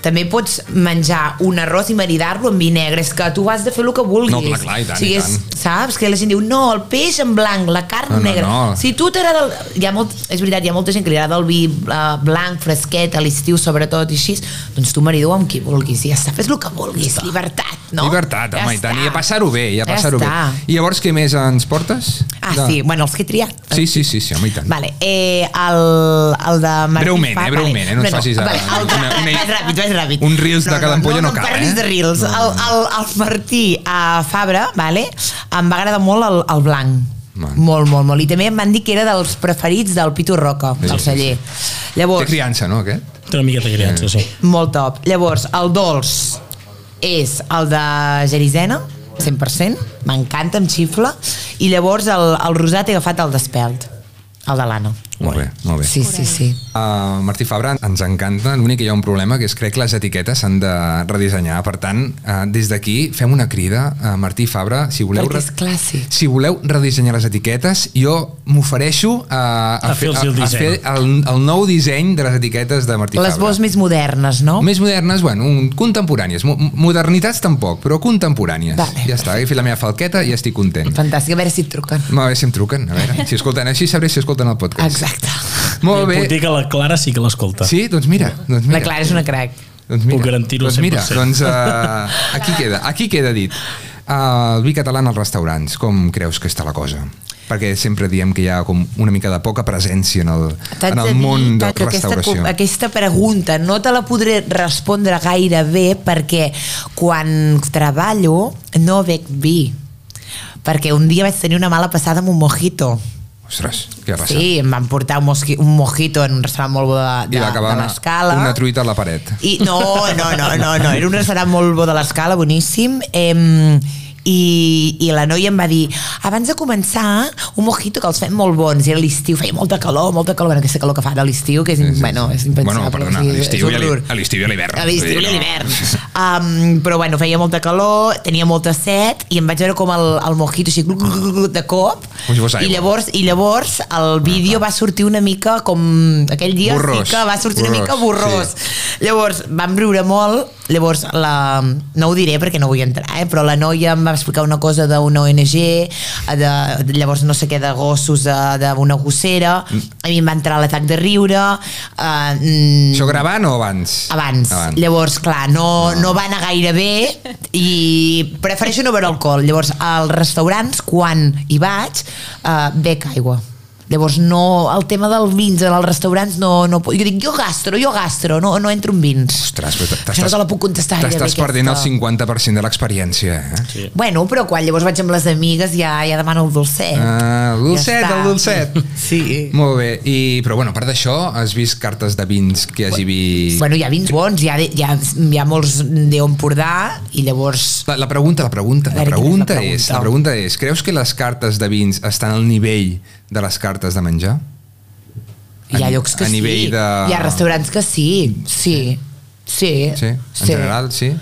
Speaker 4: també pots menjar un arròs i maridar-lo amb vi negre. És que tu has de fer el que vulguis.
Speaker 2: No, clar, clar, i tant,
Speaker 4: o sigui,
Speaker 2: i
Speaker 4: és,
Speaker 2: tant.
Speaker 4: saps? Que la gent diu, no, el peix en blanc, la carn
Speaker 2: No, no,
Speaker 4: negra.
Speaker 2: no.
Speaker 4: Si tu t'agrada... El... Hi ha molt... És veritat, hi ha molta gent que li agrada el vi eh, blanc, fresquet, a l'estiu sobretot, i així. Doncs tu marido amb qui vulguis, i ja està, fes el que vulguis, llibertat, no?
Speaker 2: Llibertat, home, ja i tant,
Speaker 4: està.
Speaker 2: i a passar-ho bé, i a
Speaker 4: Ja
Speaker 2: passar-ho bé.
Speaker 4: està.
Speaker 2: I llavors, què més ens portes?
Speaker 4: Ah,
Speaker 2: De-
Speaker 4: sí, bueno, els que he triat.
Speaker 2: Sí, sí, sí, sí, home, i tant.
Speaker 4: Vale, eh, el, el de Martí
Speaker 2: Breument,
Speaker 4: Fa,
Speaker 2: eh, breument, eh, no ens facis ara
Speaker 4: Vale,
Speaker 2: una-
Speaker 4: el, una,
Speaker 2: una-
Speaker 4: una, vaig ràpid, vaig ràpid.
Speaker 2: un reels de cada ampolla no cal,
Speaker 4: No, parlis
Speaker 2: eh?
Speaker 4: de reels.
Speaker 2: No,
Speaker 4: El, el, el Martí a Fabra, vale, em va agradar molt el, el blanc.
Speaker 2: Man.
Speaker 4: Molt, molt, molt. I també em van dir que era dels preferits del Pitu Roca,
Speaker 2: Sí,
Speaker 4: del
Speaker 2: sí,
Speaker 4: celler.
Speaker 2: Té
Speaker 4: Llavors,
Speaker 2: criança, no, aquest?
Speaker 3: Té una miqueta de criança, sí.
Speaker 4: molt top. Llavors, el dolç és el de Gerizena, 100%, m'encanta, em xifla, i llavors el, el rosat he agafat el d'Espelt, el de l'Anna.
Speaker 2: Molt bé, molt bé.
Speaker 4: Sí, sí, sí.
Speaker 2: Uh, Martí Fabra, ens encanta. L'únic que hi ha un problema, que és crec que les etiquetes s'han de redissenyar. Per tant, uh, des d'aquí fem una crida a Martí Fabra, si voleu...
Speaker 4: Perquè
Speaker 2: re-
Speaker 4: és clàssic.
Speaker 2: Si voleu redissenyar les etiquetes, jo m'ofereixo eh, a,
Speaker 3: A fer-los
Speaker 2: a,
Speaker 3: el
Speaker 2: a
Speaker 3: disseny.
Speaker 2: fer el, el nou disseny de les etiquetes de Martí
Speaker 4: Les
Speaker 2: Fabra.
Speaker 4: veus més modernes, no?
Speaker 2: Més modernes, bueno, un, contemporànies. Mo- Modernitats tampoc, però contemporànies.
Speaker 4: Vale.
Speaker 2: ja està, he fet la meva falqueta i estic content.
Speaker 4: Fantàstic, a veure si et truquen.
Speaker 2: A veure si em truquen, a veure. Si escolten així, sabré si escolten el podcast.
Speaker 4: Exacte.
Speaker 2: Molt
Speaker 3: Puc
Speaker 2: bé.
Speaker 3: dir que la Clara sí que l'escolta.
Speaker 2: Sí, doncs mira. Doncs
Speaker 4: La
Speaker 2: mira.
Speaker 4: Clara és una crac.
Speaker 2: Doncs mira,
Speaker 3: Puc garantir-ho
Speaker 2: doncs mira,
Speaker 3: 100%.
Speaker 2: doncs uh, aquí queda, aquí queda dit. Uh, el vi català en els restaurants, com creus que està la cosa? Perquè sempre diem que hi ha com una mica de poca presència en el,
Speaker 4: T'haig
Speaker 2: en
Speaker 4: de
Speaker 2: el
Speaker 4: dir,
Speaker 2: món de
Speaker 4: Tato,
Speaker 2: la restauració.
Speaker 4: Aquesta, aquesta pregunta no te la podré respondre gaire bé perquè quan treballo no bec vi perquè un dia vaig tenir una mala passada amb un mojito.
Speaker 2: Ostres, què ha passat?
Speaker 4: Sí, em van portar un, mosqui, un mojito en un restaurant molt bo de,
Speaker 2: I
Speaker 4: de,
Speaker 2: va acabar
Speaker 4: de
Speaker 2: una,
Speaker 4: l'escala.
Speaker 2: una truita a la paret.
Speaker 4: I, no, no, no, no, no, era un restaurant molt bo de l'escala, boníssim. Em, i, i la noia em va dir abans de començar un mojito que els fem molt bons i a l'estiu feia molta calor, molta calor bueno, aquesta calor que fa de l'estiu que és, sí, sí, bueno, és impensable
Speaker 2: Bueno, perdona,
Speaker 4: o
Speaker 2: a
Speaker 4: sigui,
Speaker 2: l'estiu
Speaker 4: és
Speaker 2: i a
Speaker 4: horror.
Speaker 2: l'hi- a l'estiu i a l'hivern.
Speaker 4: A l'estiu
Speaker 2: Vull dir,
Speaker 4: i a
Speaker 2: no.
Speaker 4: l'hivern. Um, però bueno, feia molta calor, tenia molta set i em vaig veure com el, el mojito així glu, glu, glu, glu, de cop
Speaker 2: Com si fos aigua.
Speaker 4: i llavors, i llavors el vídeo va sortir una mica com aquell dia
Speaker 2: Borrós.
Speaker 4: sí que va sortir
Speaker 2: Borrós,
Speaker 4: una mica borrós. Sí. Llavors vam riure molt, llavors la, no ho diré perquè no vull entrar, eh, però la noia em va explicar una cosa d'una ONG, eh, de, de, llavors no sé què de gossos, de- d'una gossera,
Speaker 2: Mm.
Speaker 4: a mi em va entrar l'atac de riure, eh, mm,
Speaker 2: Això gravant o abans?
Speaker 4: abans. abans. Llavors, clar, no, no va anar gaire bé i prefereixo no beure alcohol. Llavors, als restaurants, quan hi vaig, eh, bec aigua. Llavors, no, el tema del vins en els restaurants no... no puc- jo dic, jo gastro, jo gastro, no, no entro en vins.
Speaker 2: Ostres, però t'estàs-
Speaker 4: Això no te la puc contestar gaire bé,
Speaker 2: T'estàs perdent el
Speaker 4: aquesta.
Speaker 2: 50% de l'experiència, eh? Sí.
Speaker 4: Bueno, però quan llavors vaig amb les amigues ja, ja demano el dolcet.
Speaker 2: Ah, el dolcet,
Speaker 4: està.
Speaker 2: el dolcet.
Speaker 4: Sí.
Speaker 2: Molt bé, I, però bueno, a part d'això, has vist cartes de vins que hagi vist...
Speaker 4: Bueno, hi ha vins bons, hi ha, hi ha, hi ha molts d'Empordà i llavors
Speaker 2: La, la pregunta, la pregunta,
Speaker 4: A
Speaker 2: la
Speaker 4: veure, quina és la
Speaker 2: pregunta,
Speaker 4: pregunta?
Speaker 2: és, la pregunta és, creus que les cartes de vins estan al nivell de les cartes de menjar? A
Speaker 4: Hi ha
Speaker 2: ni-
Speaker 4: llocs que
Speaker 2: a
Speaker 4: sí.
Speaker 2: nivell de-
Speaker 4: Hi ha restaurants que sí, sí. Sí,
Speaker 2: Sí, en general, sí.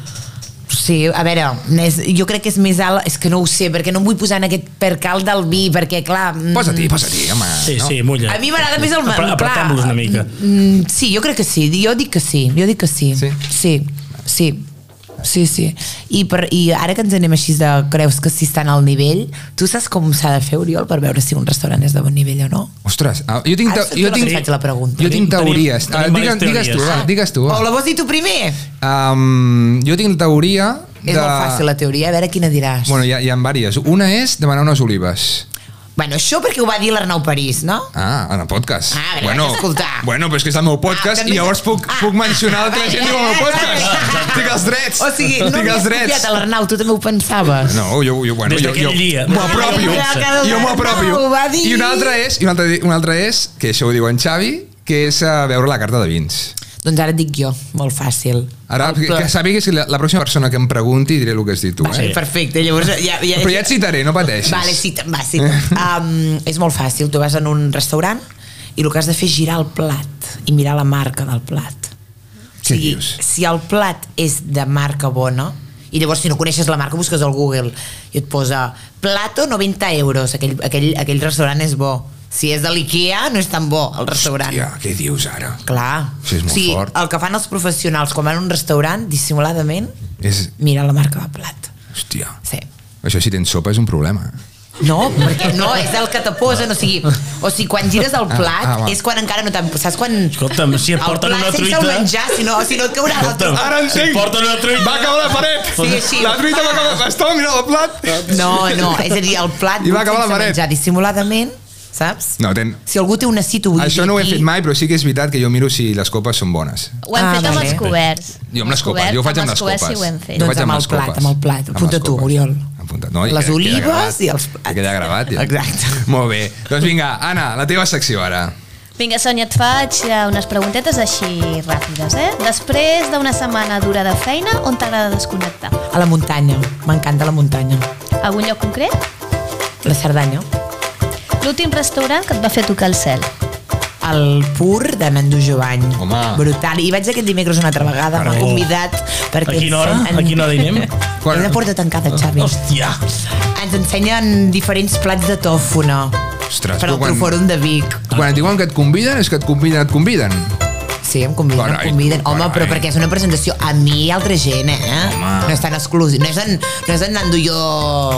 Speaker 4: Sí, a veure, és, jo crec que és més alt, és que no ho sé, perquè no em vull posar en aquest percal del vi, perquè clar... mm,
Speaker 2: Posa-t'hi, posa-t'hi, home.
Speaker 3: Sí,
Speaker 2: no?
Speaker 3: sí, mulla.
Speaker 4: A mi m'agrada més el...
Speaker 3: Apre-
Speaker 4: clar,
Speaker 3: apretem-los una mica.
Speaker 4: mm, Sí, jo crec que sí, jo dic que sí, jo dic que sí.
Speaker 2: Sí?
Speaker 4: Sí, sí. Sí, sí. I, per, I ara que ens anem així de creus que si estan al nivell, tu saps com s'ha de fer, Oriol, per veure si un restaurant és de bon nivell o no?
Speaker 2: Ostres, ah, jo tinc...
Speaker 4: Ara
Speaker 2: teo-
Speaker 4: sí que
Speaker 2: jo
Speaker 4: la
Speaker 2: tinc
Speaker 4: faig la pregunta.
Speaker 2: Jo tinc
Speaker 3: Tenim-
Speaker 2: teories.
Speaker 3: tenim
Speaker 2: Ah, digues,
Speaker 3: diverses
Speaker 2: digues tu,
Speaker 3: teories.
Speaker 2: va, digues tu.
Speaker 4: O
Speaker 2: Va.
Speaker 4: la vols dir tu primer?
Speaker 2: Um, jo tinc la teoria de...
Speaker 4: És molt fàcil eh? la teoria, a veure quina diràs.
Speaker 2: Bueno, hi ha, hi ha diverses. Una és demanar unes olives.
Speaker 4: Bueno, això perquè ho va dir l'Arnau París, no?
Speaker 2: Ah, en el podcast.
Speaker 4: Ah, però vaig escoltar.
Speaker 2: Bueno, però és que és el meu podcast
Speaker 4: Ah,
Speaker 2: ah,
Speaker 4: també-
Speaker 2: i llavors puc, ah,
Speaker 4: Ah.
Speaker 2: puc mencionar altra
Speaker 4: Ah,
Speaker 2: gent
Speaker 4: eh,
Speaker 2: diu el meu
Speaker 4: eh,
Speaker 2: podcast.
Speaker 4: eh, eh.
Speaker 2: Tinc els drets.
Speaker 4: O sigui, no
Speaker 2: Tinc
Speaker 4: m'hi
Speaker 2: els
Speaker 4: has
Speaker 2: drets.
Speaker 4: copiat a l'Arnau, tu també ho pensaves.
Speaker 2: No, jo, jo, bueno,
Speaker 3: Des
Speaker 2: jo,
Speaker 3: d'aquell
Speaker 2: jo
Speaker 3: dia.
Speaker 2: m'ho apropio.
Speaker 4: Ah, que
Speaker 2: Jo m'ho apropio.
Speaker 4: no, ho va dir.
Speaker 2: I una altra és, i una altra, una altra és que això ho diu en Xavi, que és eh, veure la carta de vins.
Speaker 4: Doncs ara et dic jo, molt fàcil.
Speaker 2: Ara, que, que sàpigues que la, la pròxima persona que em pregunti diré el que has dit tu.
Speaker 4: Sí.
Speaker 2: Eh?
Speaker 4: Perfecte, llavors ja... ja
Speaker 2: Però ja et citaré, no pateixis.
Speaker 4: Vale, sí, te- va, sí. Um, és molt fàcil, tu vas en un restaurant i el que has de fer és girar el plat i mirar la marca del plat.
Speaker 2: Què
Speaker 4: sigui,
Speaker 2: dius?
Speaker 4: si el plat és de marca bona, i llavors si no coneixes la marca busques al Google i et posa plato 90 euros, aquell, aquell, aquell restaurant és bo. Si és de l'IKEA, no és tan bo el restaurant.
Speaker 2: Hòstia, què dius ara?
Speaker 4: Clar.
Speaker 2: Sí, és molt
Speaker 4: o sigui,
Speaker 2: fort.
Speaker 4: el que fan els professionals quan van a un restaurant, dissimuladament,
Speaker 2: És...
Speaker 4: mira la marca del plat.
Speaker 2: Hòstia.
Speaker 4: Sí.
Speaker 2: Això si tens sopa és un problema.
Speaker 4: No, perquè no, és el que te posen, o sigui, o sigui quan gires el
Speaker 2: ah,
Speaker 4: plat, ah,
Speaker 2: va.
Speaker 4: ah, és quan encara no t'han... Saps quan...
Speaker 3: Escolta'm, si et porten
Speaker 4: el
Speaker 3: una
Speaker 4: plat sense
Speaker 3: truita-
Speaker 4: el menjar, si no, si no et caurà
Speaker 3: Escolta'm,
Speaker 4: l'altre.
Speaker 2: Ara entenc.
Speaker 3: Si porten una truita...
Speaker 2: Va acabar la paret!
Speaker 4: Sí, així.
Speaker 2: La truita va acabar... Estava mirant el plat!
Speaker 4: No, no, és a dir, el plat
Speaker 2: I va acabar la
Speaker 4: sense
Speaker 2: paret.
Speaker 4: menjar, dissimuladament, saps?
Speaker 2: No, ten...
Speaker 4: Si algú té una cita, vull
Speaker 2: Això
Speaker 4: dir
Speaker 2: no ho he
Speaker 4: aquí-
Speaker 2: fet mai, però sí que és veritat que jo miro si les copes són bones.
Speaker 1: Ho hem
Speaker 4: Ah,
Speaker 1: ah, fet amb
Speaker 4: vale.
Speaker 1: els coberts.
Speaker 2: Jo amb les copes, jo ho faig amb les
Speaker 1: coberts
Speaker 2: copes.
Speaker 1: sí ho hem fet.
Speaker 2: Jo
Speaker 4: Doncs
Speaker 2: faig
Speaker 4: amb
Speaker 2: les
Speaker 4: el plat,
Speaker 2: copes.
Speaker 4: amb el plat.
Speaker 2: Amb
Speaker 4: Apunta
Speaker 2: les
Speaker 4: tu,
Speaker 2: copes.
Speaker 4: Oriol.
Speaker 2: Apunta. No, i
Speaker 4: Les
Speaker 2: queda- queda
Speaker 4: olives
Speaker 2: gravat.
Speaker 4: i els plats.
Speaker 2: I Queda gravat, ja.
Speaker 4: Exacte.
Speaker 2: Molt bé. Doncs vinga, Anna, la teva secció ara.
Speaker 1: Vinga, Sònia, et faig eh, unes preguntetes així ràpides, eh? Després d'una setmana dura de feina, on t'agrada desconnectar?
Speaker 4: A la muntanya, m'encanta la muntanya.
Speaker 1: Algun lloc concret?
Speaker 4: La Cerdanya.
Speaker 1: L'últim restaurant que et va fer tocar el cel.
Speaker 4: El pur de Nando Jovany.
Speaker 2: Home.
Speaker 4: Brutal. I vaig aquest dimecres una altra vegada, m'ha
Speaker 3: Carai.
Speaker 4: convidat. Perquè
Speaker 3: A quina hora?
Speaker 4: ens-
Speaker 3: A quina hora hi anem?
Speaker 2: Quan-
Speaker 4: Quan... Una porta
Speaker 2: Ah.
Speaker 4: tancada, Xavi.
Speaker 3: Hòstia!
Speaker 4: Ens ensenyen diferents plats de tòfona
Speaker 2: Ostres,
Speaker 4: per
Speaker 2: però
Speaker 4: al
Speaker 2: quan-
Speaker 4: quan... Trofòrum de Vic.
Speaker 2: Quan et diuen que et conviden, és que et conviden, et conviden.
Speaker 4: Sí, em conviden,
Speaker 2: Carai,
Speaker 4: em conviden. Home,
Speaker 2: carai.
Speaker 4: però perquè és una presentació a mi i altra gent, eh?
Speaker 2: Home. Ah.
Speaker 4: No és tan exclusiu. No és en, no és en Nando i jo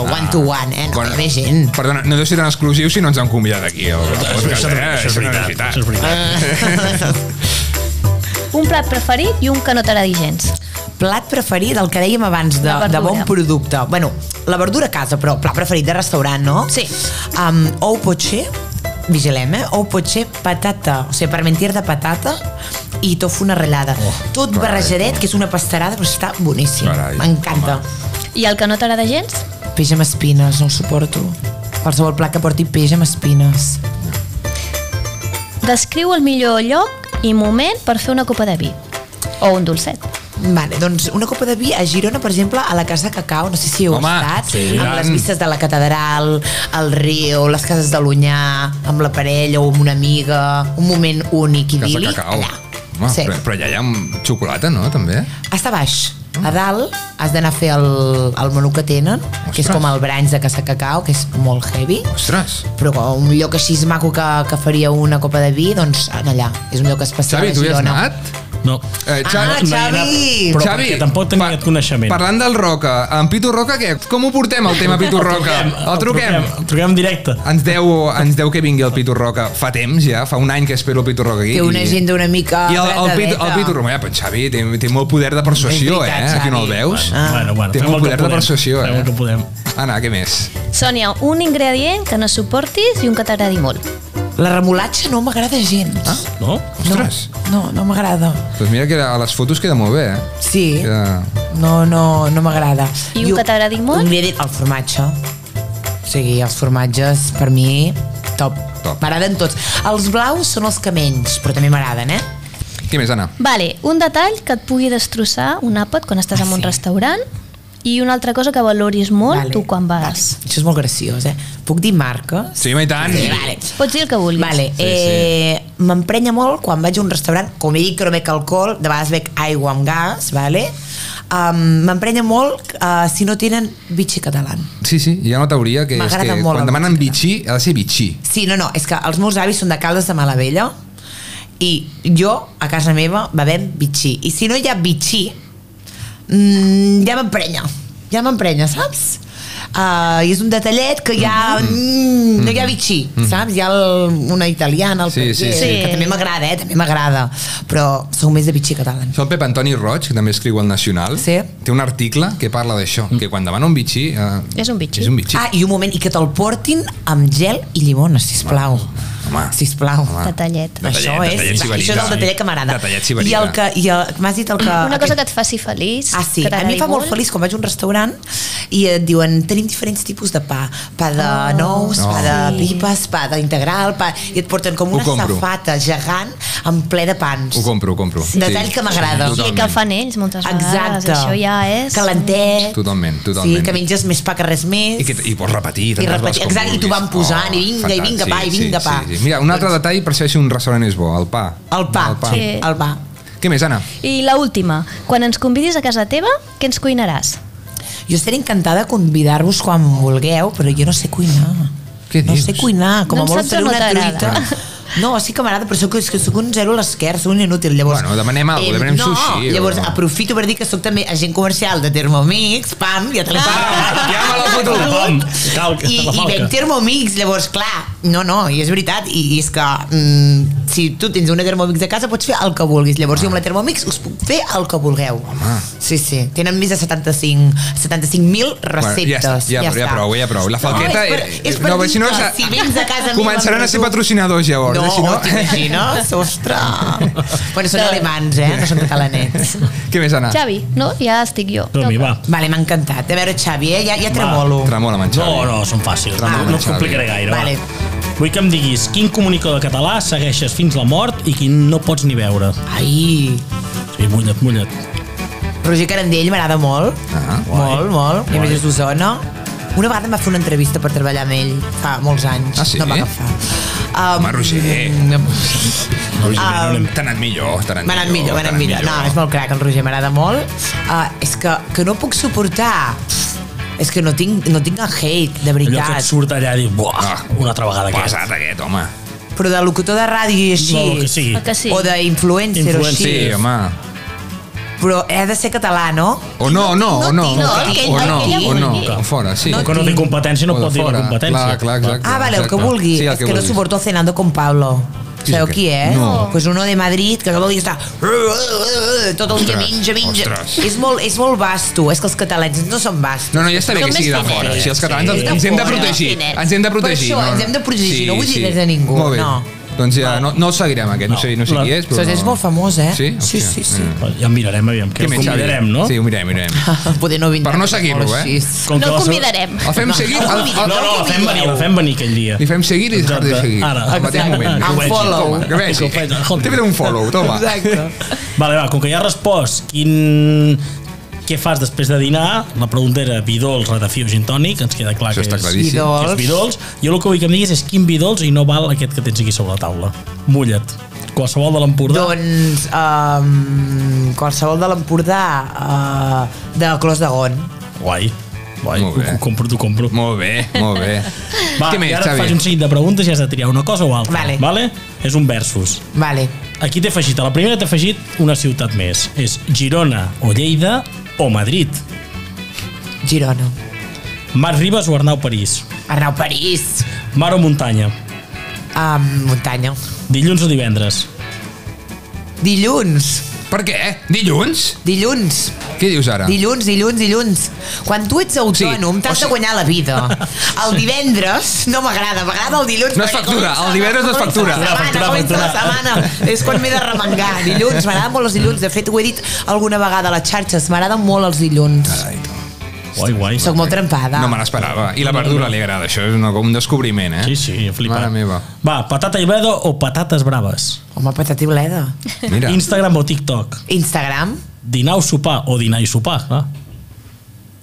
Speaker 4: one to one, eh? No, bueno. ve gent.
Speaker 2: Perdona, no deu ser tan exclusiu si no ens han convidat aquí. El, el
Speaker 3: Això,
Speaker 2: podcast,
Speaker 3: això,
Speaker 2: eh?
Speaker 3: això és
Speaker 2: no
Speaker 3: veritat. Això és veritat.
Speaker 1: Un plat preferit i un que no t'agradi gens.
Speaker 4: Plat preferit, el que dèiem abans, de,
Speaker 1: La
Speaker 4: de
Speaker 1: verdura.
Speaker 4: bon producte. Bueno, la verdura a casa, però plat preferit de restaurant, no?
Speaker 1: Sí.
Speaker 4: Um, ou potser, vigilem, eh? Ou potser patata, o sigui, parmentier de patata i tofu una ratllada. Oh, Tot
Speaker 2: carai,
Speaker 4: barrejadet, que és una pastarada, però està boníssim.
Speaker 2: Carai,
Speaker 4: M'encanta.
Speaker 1: I el que no t'agrada gens?
Speaker 4: Peix amb espines, no el suporto. Qualsevol plat que porti peix amb espines.
Speaker 1: Descriu el millor lloc i moment per fer una copa de vi. O un dolcet.
Speaker 4: Vale, doncs una copa de vi a Girona, per exemple, a la Casa Cacau, no sé si heu
Speaker 2: Home,
Speaker 4: estat,
Speaker 2: sí,
Speaker 4: amb
Speaker 2: tant.
Speaker 4: les vistes de la catedral, el riu, les cases de l'Unyà, amb la parella o amb una amiga, un moment únic i
Speaker 2: Casa
Speaker 4: idíl·lic,
Speaker 2: Cacau.
Speaker 4: allà.
Speaker 2: Home,
Speaker 4: sí.
Speaker 2: però, però allà hi ha amb xocolata, no? També.
Speaker 4: Està baix. A dalt has d'anar a fer el, el menú que tenen, que és
Speaker 2: Ostres.
Speaker 4: com el branch de Casa Cacau, que és molt heavy,
Speaker 2: Ostres.
Speaker 4: però un lloc així maco que, que faria una copa de vi, doncs allà. És un lloc especial
Speaker 2: Xavi,
Speaker 4: a
Speaker 2: tu hi has
Speaker 4: Girona.
Speaker 2: anat?
Speaker 3: No.
Speaker 2: Eh, Xavi,
Speaker 4: Ah,
Speaker 3: No hi ha anat,
Speaker 4: Xavi!
Speaker 3: Però
Speaker 2: Xavi,
Speaker 3: perquè tampoc tenia
Speaker 2: pa-
Speaker 3: aquest coneixement.
Speaker 2: Parlant del Roca, en Pitu Roca què? Com ho portem el tema Pitu Roca? El truquem.
Speaker 3: El truquem directe.
Speaker 2: Ens deu, ens deu que vingui el Pitu Roca. Fa temps ja, fa un any que espero el Pitu Roca aquí.
Speaker 4: Té una
Speaker 2: i-
Speaker 4: agenda una mica...
Speaker 2: I el, el, Pitu, el
Speaker 4: apretadeta.
Speaker 2: Pitu Roca, ja, però Xavi, té, té molt poder de persuasió,
Speaker 4: És veritat,
Speaker 2: eh? Aquí no el
Speaker 4: Xavi.
Speaker 2: veus?
Speaker 4: Ah.
Speaker 3: Bueno, bueno,
Speaker 2: Té
Speaker 3: fem
Speaker 2: molt
Speaker 3: el que
Speaker 2: poder de
Speaker 3: podem.
Speaker 2: persuació,
Speaker 3: Fem
Speaker 2: eh?
Speaker 3: el que podem.
Speaker 2: Anna, què més?
Speaker 1: Sònia, un ingredient que no suportis i un que t'agradi molt.
Speaker 4: La remolatxa no m'agrada gens. Ah?
Speaker 3: No?
Speaker 2: Ostres, no.
Speaker 4: No, no m'agrada.
Speaker 2: doncs mira que a les fotos queda molt bé, eh?
Speaker 4: Sí.
Speaker 2: Queda...
Speaker 4: No, no, no m'agrada.
Speaker 1: I un que t'agradi molt?
Speaker 4: Un dia dit el formatge. O sigui, els formatges, per mi, top.
Speaker 2: Top.
Speaker 4: M'agraden tots. Els blaus són els que menys, però també m'agraden, eh?
Speaker 2: Què més, Anna?
Speaker 1: Vale, un detall que et pugui destrossar un àpat quan estàs
Speaker 4: Ah,
Speaker 1: en un
Speaker 4: sí.
Speaker 1: restaurant i una altra cosa que valoris molt
Speaker 4: Vale,
Speaker 1: vale. tu quan vas.
Speaker 4: Vale. Això és molt graciós, eh? Puc dir marques?
Speaker 2: Sí, home, i tant.
Speaker 4: Sí, vale.
Speaker 1: Pots dir el que vulguis.
Speaker 4: Vale,
Speaker 2: Sí,
Speaker 4: eh, m'emprenya molt quan vaig a un restaurant, com he dit que no bec alcohol, de vegades bec aigua amb gas, vale? Um, m'emprenya molt uh, si no tenen bitxi català.
Speaker 2: Sí, sí, hi ha una teoria que és
Speaker 4: M'agrada
Speaker 2: que
Speaker 4: molt
Speaker 2: quan
Speaker 4: el
Speaker 2: demanen
Speaker 4: bitxí.
Speaker 2: bitxí, ha de ser bitxí.
Speaker 4: Sí, no, no, és que els meus avis són de Caldes de Malavella i jo, a casa meva, bevem bitxí. I si no hi ha bitxí, mm, ja m'emprenya, ja m'emprenya, saps? Uh, i és un detallet que ja
Speaker 2: Mhm.
Speaker 4: mm, no hi ha bitxí, saps? Hi ha el, una italiana, el
Speaker 2: Sí, sí,
Speaker 4: Pellier,
Speaker 1: sí.
Speaker 4: que també m'agrada, eh? també m'agrada, però sou més de bitxí català.
Speaker 2: Això el Pep Antoni Roig, que també escriu al Nacional,
Speaker 4: Sí.
Speaker 2: té un article que parla d'això, que quan demana un bitxí... Eh,
Speaker 1: És un bitxí.
Speaker 2: És un bitxí.
Speaker 4: Ah, i un moment, i que te'l portin amb gel i llimona, sisplau.
Speaker 2: home,
Speaker 4: sisplau.
Speaker 2: home.
Speaker 1: Detallet.
Speaker 2: Detallet,
Speaker 4: això és,
Speaker 2: detallet s'hi
Speaker 4: això és
Speaker 2: valida.
Speaker 4: el detallet que m'agrada.
Speaker 2: Detallet s'hi valida.
Speaker 4: I el que, i el, m'has dit el que...
Speaker 1: Una cosa que et faci feliç.
Speaker 4: Ah, sí.
Speaker 1: que
Speaker 4: A mi
Speaker 1: t'agradi
Speaker 4: em fa molt feliç quan vaig a un restaurant i et diuen tenim diferents tipus de pa. Pa de nous,
Speaker 2: Oh.
Speaker 4: pa de pipes, pa d'integral, pa... I et porten com
Speaker 2: Ho
Speaker 4: una
Speaker 2: compro.
Speaker 4: safata gegant amb ple de pans.
Speaker 2: Ho compro, ho compro.
Speaker 4: Sí. Detall que m'agrada.
Speaker 1: I que el fan ells moltes vegades.
Speaker 4: Exacte.
Speaker 1: Ah, Això ja és...
Speaker 4: Calentet.
Speaker 2: Totalment,
Speaker 4: Sí,
Speaker 2: totalment.
Speaker 4: que menges més pa que res més.
Speaker 2: I, que, I pots repetir.
Speaker 4: I
Speaker 2: tantes
Speaker 4: repetir,
Speaker 2: vegades com
Speaker 4: exacte, i t'ho van
Speaker 2: vulguis.
Speaker 4: posant, i vinga, i
Speaker 2: fantàstic,
Speaker 4: vinga, pa, i vinga,
Speaker 2: sí,
Speaker 4: pa. Doncs-
Speaker 2: Sí, sí. Mira, un altre detall per saber si un restaurant és bo, el pa.
Speaker 4: El pa.
Speaker 2: El pa.
Speaker 1: Sí.
Speaker 4: El pa.
Speaker 2: Què més, Anna?
Speaker 1: I la última, quan ens convidis a casa teva, què ens cuinaràs?
Speaker 4: Jo estaré encantada de convidar-vos quan vulgueu, però jo no sé cuinar.
Speaker 2: Què
Speaker 4: No
Speaker 2: dius?
Speaker 4: sé cuinar, com
Speaker 1: No
Speaker 4: a
Speaker 1: en
Speaker 4: molt
Speaker 1: saps o
Speaker 4: faré
Speaker 1: no
Speaker 4: una
Speaker 1: t'agrada?
Speaker 4: truita. No, sí que m'agrada, però soc, és que soc un zero a l'esquerra, soc un inútil, llavors...
Speaker 2: Bueno, demanem alguna cosa, demanem
Speaker 4: no,
Speaker 2: sushi o-
Speaker 4: llavors aprofito per dir que soc també agent comercial de Thermomix, pam, ja
Speaker 1: Ah.
Speaker 4: te la
Speaker 2: Pam, ja me l'ha fotut.
Speaker 3: Pam, cal,
Speaker 4: I,
Speaker 3: la
Speaker 4: i
Speaker 3: falca.
Speaker 4: venc Thermomix, llavors, clar, no, no, i és veritat, i, i és que mm, si tu tens una Thermomix a casa pots fer el que vulguis, llavors jo amb la Thermomix us puc fer el que vulgueu. Home. Sí, sí, tenen més de 75 75.000
Speaker 2: ja,
Speaker 4: receptes.
Speaker 2: està, ja, ja, ja prou, ja prou. La falqueta... eh,
Speaker 4: No, és per, és per
Speaker 2: no,
Speaker 4: dir
Speaker 2: si no,
Speaker 4: que
Speaker 2: és-
Speaker 4: si vens de casa meva
Speaker 2: Començaran
Speaker 4: amb
Speaker 2: a ser
Speaker 4: tu-
Speaker 2: patrocinadors, llavors.
Speaker 4: No,
Speaker 2: eh, si
Speaker 4: no t'imagines? Ostres! bueno, són alemans, eh? No són catalanets.
Speaker 2: Què més, Anna?
Speaker 1: Xavi, no? Ja estic jo.
Speaker 3: Som-hi, va.
Speaker 4: Vale, m'ha encantat. A veure, Xavi, eh? Ja, ja tremolo.
Speaker 2: Tremola, menjar.
Speaker 3: No, no, són fàcils.
Speaker 2: Ramon
Speaker 3: no us
Speaker 2: Xavi.
Speaker 3: complicaré gaire. va.
Speaker 4: Vale.
Speaker 3: Vull que em diguis quin comunicador català segueixes fins la mort i quin no pots ni veure.
Speaker 4: Ai,
Speaker 3: Sí, mullat, mullat.
Speaker 4: Roger Carandell m'agrada molt.
Speaker 2: Ah,
Speaker 4: molt, molt, I a més
Speaker 3: Guai.
Speaker 4: és d'Osona. Una vegada em va fer una entrevista per treballar amb ell fa molts anys.
Speaker 2: Ah, sí?
Speaker 4: No em va agafar. Um, Mm,
Speaker 2: Home, Roger.
Speaker 3: No, ah, no,
Speaker 2: T'ha anat millor, t'ha um, anat
Speaker 4: M'ha anat millor, m'ha
Speaker 2: t'ha
Speaker 4: anat millor. No, és molt crac, el Roger m'agrada molt. Uh, és que, que no puc suportar... És que no tinc, no tinc el hate, de
Speaker 3: allò que
Speaker 4: veritat.
Speaker 3: et surt allà i dius, buah,
Speaker 2: Ah.
Speaker 3: una altra vegada aquest.
Speaker 2: Pesat aquest, home.
Speaker 4: però de locutor de ràdio i així,
Speaker 3: No, el que sigui.
Speaker 1: El que sí.
Speaker 4: o d'influencer o
Speaker 3: Influencer.
Speaker 4: així,
Speaker 2: Sí, home.
Speaker 4: però he de ser català, no?
Speaker 2: O no, no, o no.
Speaker 4: no,
Speaker 2: O
Speaker 4: aquell-
Speaker 2: no,
Speaker 4: aquell
Speaker 2: o no.
Speaker 3: vulgui.
Speaker 2: O fora, sí.
Speaker 3: Com que no té competència, no
Speaker 2: O de
Speaker 3: pot dir
Speaker 2: fora.
Speaker 3: la competència.
Speaker 2: Clar, clar, exacte.
Speaker 4: Ah, vale, el que
Speaker 2: exacte.
Speaker 4: vulgui.
Speaker 2: Sí, el
Speaker 4: és que, no
Speaker 2: vulgui.
Speaker 4: soporto cenando con Pablo.
Speaker 2: Sí,
Speaker 4: Sabeu
Speaker 2: sí que-
Speaker 4: qui és?
Speaker 2: No.
Speaker 4: Pues uno de Madrid, que acaba el dia està... Tot el
Speaker 2: Ostres,
Speaker 4: dia menja, menja.
Speaker 2: ostres.
Speaker 4: És molt, és molt basto. És que els catalans no són bastos.
Speaker 2: No, no, ja està bé
Speaker 1: Som
Speaker 2: que
Speaker 1: més
Speaker 2: sigui de
Speaker 1: finets.
Speaker 2: fora. Si els catalans
Speaker 3: Sí.
Speaker 2: ens, ens hem de
Speaker 4: Som més
Speaker 2: protegir.
Speaker 1: finets.
Speaker 2: Ens hem de protegir.
Speaker 4: Per això, ens hem de protegir, no vull dir res a ningú,
Speaker 2: Molt bé.
Speaker 4: no.
Speaker 2: Doncs ja, no, no el seguirem aquest, no,
Speaker 3: No.
Speaker 2: sé, no sé
Speaker 3: La-
Speaker 2: qui és, però...
Speaker 4: Ostres, és molt famós, eh?
Speaker 2: Sí?
Speaker 4: Sí,
Speaker 2: Hòstia.
Speaker 4: sí, sí.
Speaker 2: Mm.
Speaker 3: Ja en mirarem, aviam, que
Speaker 2: Què
Speaker 3: el
Speaker 2: més, Xavi?
Speaker 3: convidarem, no?
Speaker 2: Sí, ho mirem, mirem.
Speaker 4: Poder no vindrà.
Speaker 2: eh. Per no seguir-lo, eh?
Speaker 3: Com que
Speaker 1: No
Speaker 3: la
Speaker 1: el
Speaker 3: seva-
Speaker 1: convidarem.
Speaker 2: El fem seguir... El, el,
Speaker 3: No, no, la fem venir, la fem venir aquell dia.
Speaker 2: Li fem seguir i deixar de seguir.
Speaker 3: Ara,
Speaker 2: Al mateix
Speaker 3: exacte.
Speaker 2: moment.
Speaker 3: Que ho
Speaker 4: Un
Speaker 3: vegi.
Speaker 4: follow.
Speaker 2: Toma, que vegi.
Speaker 3: Que ho faci, escolta.
Speaker 2: Té bé un follow, toma.
Speaker 4: Exacte.
Speaker 3: Vale, va, com que ja has respost quin... què fas després de dinar, la pregunta era vidols, ratafia o gin tònic, ens queda clar
Speaker 2: Això
Speaker 3: que
Speaker 2: està
Speaker 3: és,
Speaker 2: claríssim.
Speaker 3: que és vidols. Jo el que vull que em diguis és quin vidols i no val aquest que tens aquí sobre la taula. Mulla't. Qualsevol de l'Empordà.
Speaker 4: Doncs um, qualsevol de l'Empordà uh, de Clos de Gon.
Speaker 3: Guai. Guai,
Speaker 2: Molt bé.
Speaker 3: ho, ho compro, t'ho compro.
Speaker 2: Molt bé, molt bé.
Speaker 3: Va,
Speaker 2: Què
Speaker 3: i
Speaker 2: més,
Speaker 3: ara et
Speaker 2: Xavi?
Speaker 3: faig un seguit de preguntes i has de triar una cosa o altra.
Speaker 4: Vale.
Speaker 3: vale? És un versus.
Speaker 4: Vale.
Speaker 3: Aquí t'he afegit, a la primera t'he afegit una ciutat més. És Girona o Lleida o Madrid.
Speaker 4: Girona.
Speaker 3: Mar Ribas o Arnau París.
Speaker 4: Arnau París.
Speaker 3: Mar o muntanya.
Speaker 4: Um, muntanya.
Speaker 3: Dilluns o divendres.
Speaker 4: Dilluns.
Speaker 2: Per què? eh? Dilluns?
Speaker 4: Dilluns.
Speaker 2: Què dius ara?
Speaker 4: Dilluns, dilluns, dilluns. Quan tu ets autònom,
Speaker 2: Ah. Sí, o
Speaker 4: t'has de
Speaker 2: sigui-
Speaker 4: guanyar la vida. El divendres no m'agrada, m'agrada el dilluns.
Speaker 2: No es
Speaker 4: perquè
Speaker 2: factura,
Speaker 4: comença-
Speaker 2: el divendres no es
Speaker 4: comença
Speaker 2: factura.
Speaker 4: La setmana,
Speaker 3: Factura,
Speaker 4: comença la setmana. És quan m'he de remengar. Dilluns, m'agraden molt els dilluns. De fet, ho he dit alguna vegada a les xarxes, m'agraden molt els dilluns.
Speaker 2: Ai,
Speaker 3: Guai, guai.
Speaker 4: Soc molt trempada.
Speaker 2: No me l'esperava. I la verdura li agrada, això és una, un descobriment, eh?
Speaker 3: Sí, sí, flipat.
Speaker 2: Mare meva.
Speaker 3: Va, patata i bleda o patates braves?
Speaker 4: Home, patata i bleda.
Speaker 2: Mira,
Speaker 3: Instagram o TikTok?
Speaker 4: Instagram,
Speaker 3: Dinar o sopar? O dinar i sopar, clar.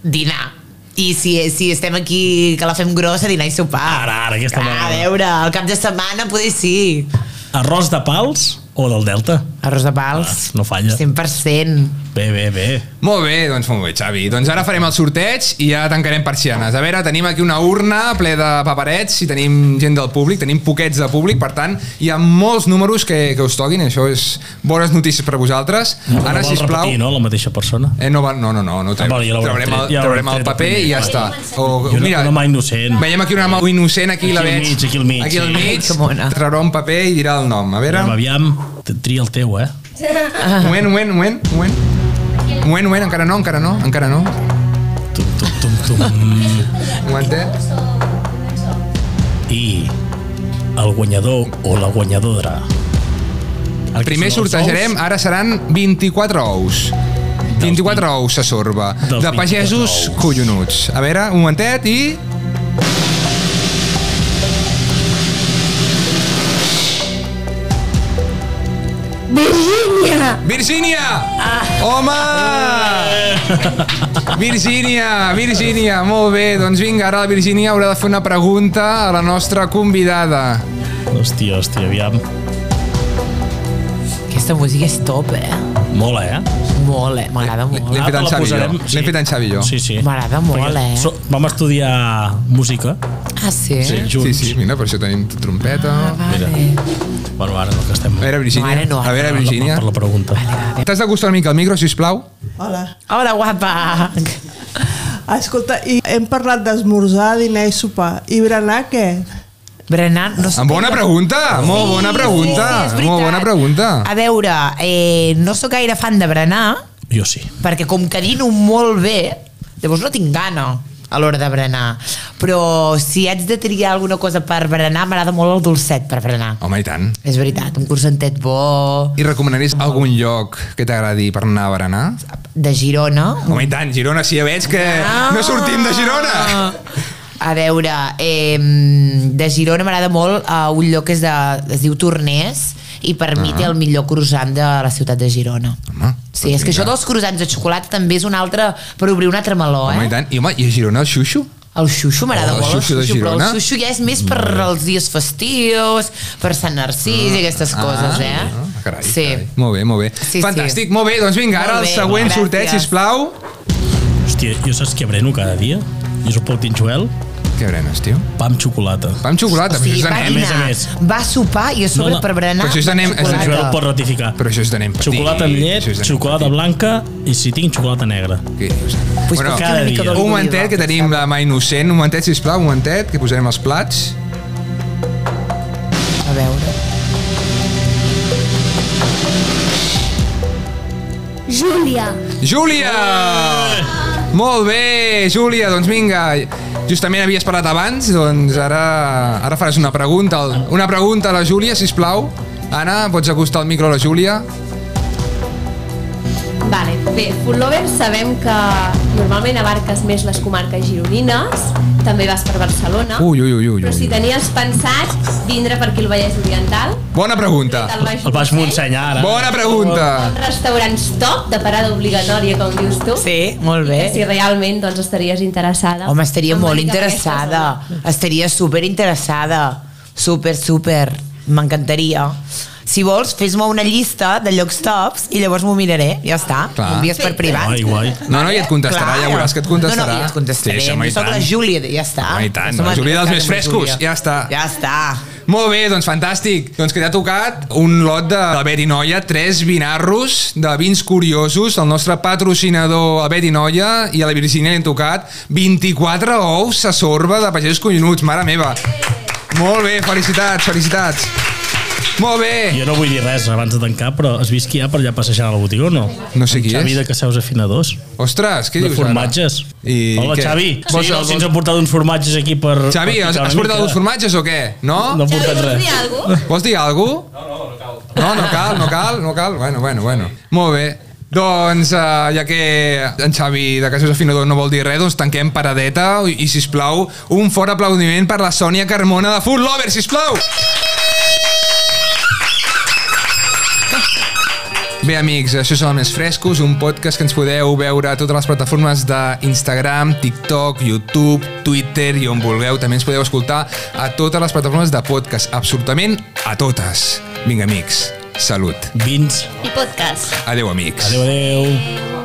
Speaker 4: dinar. I si, si estem aquí, que la fem grossa, dinar i sopar.
Speaker 3: Ara, ara, aquesta
Speaker 4: Ah, a
Speaker 3: m'agrada.
Speaker 4: veure, el cap de setmana poder sí.
Speaker 3: Arròs de pals o del Delta?
Speaker 4: Arròs de pals.
Speaker 3: Ah, no falla.
Speaker 4: 100%.
Speaker 3: Bé, bé, bé.
Speaker 2: Molt bé, doncs molt bé, Xavi. Doncs ara farem el sorteig i ja tancarem persianes. A veure, tenim aquí una urna ple de paperets i tenim gent del públic, tenim poquets de públic, per tant, hi ha molts números que, que us toquin, això és bones notícies per vosaltres. Ara,
Speaker 3: vol
Speaker 2: sisplau...
Speaker 3: Repetir, no? La mateixa persona.
Speaker 2: Eh, no, va, no, no, no, no ho treu.
Speaker 3: Ah, vale, ja l'haurem
Speaker 2: traurem, el,
Speaker 3: tret, ja
Speaker 2: traurem
Speaker 3: l'haurem
Speaker 2: el
Speaker 3: tret
Speaker 2: paper
Speaker 3: primer.
Speaker 2: i ja està. O,
Speaker 3: I una, una mà innocent.
Speaker 2: Veiem aquí una mà innocent, aquí, la
Speaker 3: Aquí al
Speaker 2: veig.
Speaker 3: mig, aquí al mig,
Speaker 2: Aquí al
Speaker 3: sí.
Speaker 2: mig,
Speaker 4: Que mona.
Speaker 2: traurà un paper i dirà el nom. A veure,
Speaker 3: Aviam, aviam, te- tria el teu, eh?
Speaker 2: un moment, un moment, un moment, un moment. Un moment, un moment, encara no, encara no, encara no.
Speaker 3: Tum, tum, tum, tum.
Speaker 2: Un momentet.
Speaker 3: I el guanyador o la guanyadora. El que
Speaker 2: Primer
Speaker 3: són els
Speaker 2: sortejarem,
Speaker 3: ous,
Speaker 2: ara seran 24 ous. 24 ous se sorba.
Speaker 3: Dels
Speaker 2: De
Speaker 3: 24
Speaker 2: pagesos
Speaker 3: ous.
Speaker 2: collonuts. A veure, un momentet i... Virgínia! Home!
Speaker 3: Eh.
Speaker 2: Virgínia, Virgínia, molt bé. Doncs vinga, ara la Virgínia haurà de fer una pregunta a la nostra convidada.
Speaker 3: Hòstia, hòstia, aviam.
Speaker 4: Aquesta aquesta música és top, eh?
Speaker 3: Mola, eh?
Speaker 4: Molt, eh? M'agrada molt.
Speaker 2: L'hem fet en
Speaker 3: Ah, la
Speaker 2: Xavi i jo.
Speaker 3: posarem,
Speaker 2: L'hem
Speaker 3: sí.
Speaker 2: fet en Xavi i jo.
Speaker 3: Sí, sí.
Speaker 4: M'agrada molt,
Speaker 3: Perquè
Speaker 4: eh?
Speaker 3: so- Vam estudiar música.
Speaker 4: Ah, sí?
Speaker 3: Sí.
Speaker 2: Sí,
Speaker 3: junts.
Speaker 2: Eh? sí, mira, per això tenim trompeta.
Speaker 3: Mira. Bueno, ara no, que estem...
Speaker 2: A veure, Virgínia.
Speaker 4: No, ara no,
Speaker 2: a veure,
Speaker 4: ara no,
Speaker 2: Virgínia.
Speaker 3: Per la pregunta.
Speaker 2: T'has d'acostar una mica al micro, sisplau?
Speaker 7: Hola.
Speaker 4: Hola, guapa!
Speaker 7: Ah, Escolta, i hem parlat d'esmorzar, dinar i sopar. I berenar què?
Speaker 4: Berenar, no sé
Speaker 2: Amb bona pregunta, molt bona pregunta,
Speaker 4: Sí, sí, és
Speaker 2: molt
Speaker 4: veritat.
Speaker 2: bona pregunta.
Speaker 4: A veure, eh, no sóc gaire fan de berenar,
Speaker 3: Jo sí.
Speaker 4: perquè com que dino molt bé, llavors no tinc gana a l'hora de berenar. Però si haig de triar alguna cosa per berenar, m'agrada molt el dolcet per berenar.
Speaker 2: Home, i tant.
Speaker 4: És veritat, un cursantet bo
Speaker 2: I recomanaries algun lloc que t'agradi per anar a berenar?
Speaker 4: de Girona.
Speaker 2: Home, i tant, Girona, si ja veig que no sortim de Girona.
Speaker 4: A veure, eh, de Girona m'agrada molt eh, un lloc que és de, es diu Tornés i per mi té el millor croissant de la ciutat de Girona.
Speaker 2: Ah. Home, doncs
Speaker 4: Sí, és que això dels croissants de xocolata també és un altre, per obrir un altre meló, eh?
Speaker 2: Home, i tant. I, home, i a Girona el xuxo?
Speaker 4: El xuxu m'agrada
Speaker 2: Oh, el
Speaker 4: molt, el
Speaker 2: xuxu de
Speaker 4: xuxu, però el
Speaker 2: Girona? Mm.
Speaker 4: xuxu ja és més per als dies festius, per Sant Narcís i aquestes coses, eh?
Speaker 2: Ah, carai,
Speaker 4: sí.
Speaker 2: carai. Molt bé, molt bé.
Speaker 4: Sí,
Speaker 2: Fantàstic, molt bé. Doncs vinga, ara
Speaker 4: Molt
Speaker 2: el
Speaker 4: bé,
Speaker 2: següent
Speaker 4: gràcies.
Speaker 2: sorteig, sisplau.
Speaker 3: Hòstia, jo saps què breno cada dia? Jo soc pel Tinjuel,
Speaker 2: Què berenes, tio?
Speaker 3: pa amb xocolata.
Speaker 2: Pa amb xocolata,
Speaker 4: O sigui,
Speaker 2: però això és
Speaker 4: va,
Speaker 2: de
Speaker 3: a
Speaker 2: nen.
Speaker 3: més, a
Speaker 4: dinar,
Speaker 3: més.
Speaker 4: va sopar i a sobre
Speaker 3: No, no,
Speaker 4: per berenar
Speaker 2: però això és de nen, és de
Speaker 3: El Tinjuel
Speaker 4: xocolata.
Speaker 3: pot ratificar.
Speaker 2: Però això és de nen petit.
Speaker 3: Xocolata amb llet,
Speaker 2: Això és de nen
Speaker 3: xocolata blanca i si tinc xocolata negra.
Speaker 2: petit. Què dius?
Speaker 4: Pues
Speaker 2: Bueno,
Speaker 4: pot ser
Speaker 3: cada
Speaker 4: una mica
Speaker 3: dia.
Speaker 4: d'oli
Speaker 2: un
Speaker 4: d'oliva,
Speaker 2: momentet, que tenim la mà innocent. Un momentet, sisplau, un momentet, que posarem els plats.
Speaker 4: A veure.
Speaker 8: Júlia.
Speaker 2: Júlia! Molt bé, Júlia, doncs vinga. Justament havies parlat abans, doncs ara, ara faràs una pregunta. al- Una pregunta a la Júlia, si plau. Anna, pots acostar el micro a la Júlia?
Speaker 6: Vale, bé, Food Lovers sabem que normalment abarques més les comarques gironines, també vas per Barcelona,
Speaker 2: Ui, ui, ui, ui.
Speaker 6: però si
Speaker 2: ui.
Speaker 6: tenies pensat vindre per aquí al Vallès Oriental,
Speaker 2: Bona pregunta.
Speaker 6: al Baix
Speaker 3: El Baix
Speaker 6: Montseny,
Speaker 3: Montseny, ara.
Speaker 2: Bona pregunta.
Speaker 6: restaurants top de parada obligatòria, com dius tu,
Speaker 4: Sí, molt
Speaker 6: i
Speaker 4: bé.
Speaker 6: que si realment doncs, estaries interessada.
Speaker 4: Home, estaria
Speaker 6: en
Speaker 4: molt
Speaker 6: venir cap a aquesta
Speaker 4: interessada.
Speaker 6: zona.
Speaker 4: Estaria super interessada. Super, super. M'encantaria. Si vols, fes-me una llista de llocs tops i llavors m'ho miraré. Ja està.
Speaker 2: Clar.
Speaker 4: M'envies per privat.
Speaker 3: Guai, guai.
Speaker 2: No, no, i et contestarà,
Speaker 4: Clar.
Speaker 2: ja veuràs que et
Speaker 4: No,
Speaker 2: contestarà.
Speaker 4: no, ja et contestaré.
Speaker 2: Sí,
Speaker 4: Sí,
Speaker 2: home, i
Speaker 4: jo soc la
Speaker 2: tant.
Speaker 4: Júlia, ja està.
Speaker 2: Home, i tant,
Speaker 4: Som
Speaker 2: la Júlia dels
Speaker 4: amics
Speaker 2: més
Speaker 4: de la
Speaker 2: frescos,
Speaker 4: Júlia.
Speaker 2: ja està.
Speaker 4: Ja està.
Speaker 2: Molt bé, doncs fantàstic. Doncs que t'ha tocat un lot de Albert i Noia, tres vinarros de vins curiosos, el nostre patrocinador Albert i Noia i a la Virgínia li han tocat 24 ous a sorba de pagès collonuts, mare meva. Molt bé, felicitats, felicitats. Molt bé.
Speaker 3: Jo no vull dir res abans de tancar, però has vist qui hi ha per allà passejant a la botiga o no?
Speaker 2: No sé qui
Speaker 3: Xavi
Speaker 2: és.
Speaker 3: de Caseus Afinadors,
Speaker 2: Ostres, què
Speaker 3: de
Speaker 2: dius ara?
Speaker 3: formatges.
Speaker 2: I
Speaker 3: Hola,
Speaker 2: què?
Speaker 3: Xavi.
Speaker 2: Vols-
Speaker 3: Sí, no, si ens
Speaker 2: vols-
Speaker 3: han portat uns formatges aquí per...
Speaker 2: Xavi,
Speaker 3: per
Speaker 2: has,
Speaker 3: picar
Speaker 2: has
Speaker 3: una
Speaker 2: portat
Speaker 3: mica.
Speaker 2: els formatges o què? No?
Speaker 3: No han portat
Speaker 6: Vols dir
Speaker 3: res.
Speaker 6: alguna cosa?
Speaker 2: Vols dir alguna cosa? No, no cal, no cal, no cal. Bueno, bueno, bueno. Molt bé. Doncs, eh, ja que en Xavi de Casos Afinador no vol dir res, doncs tanquem paradeta i, i sisplau, un fort aplaudiment per la Sònia Carmona de Food Lover, sisplau! Bé, amics, això són els més frescos, un podcast que ens podeu veure a totes les plataformes d'Instagram, TikTok, YouTube, Twitter i on vulgueu. També ens podeu escoltar a totes les plataformes de podcast, absolutament a totes. Vinga, amics, salut.
Speaker 3: Vins.
Speaker 8: I podcast.
Speaker 2: Adeu, amics.
Speaker 3: Adéu, adéu.
Speaker 8: Adéu.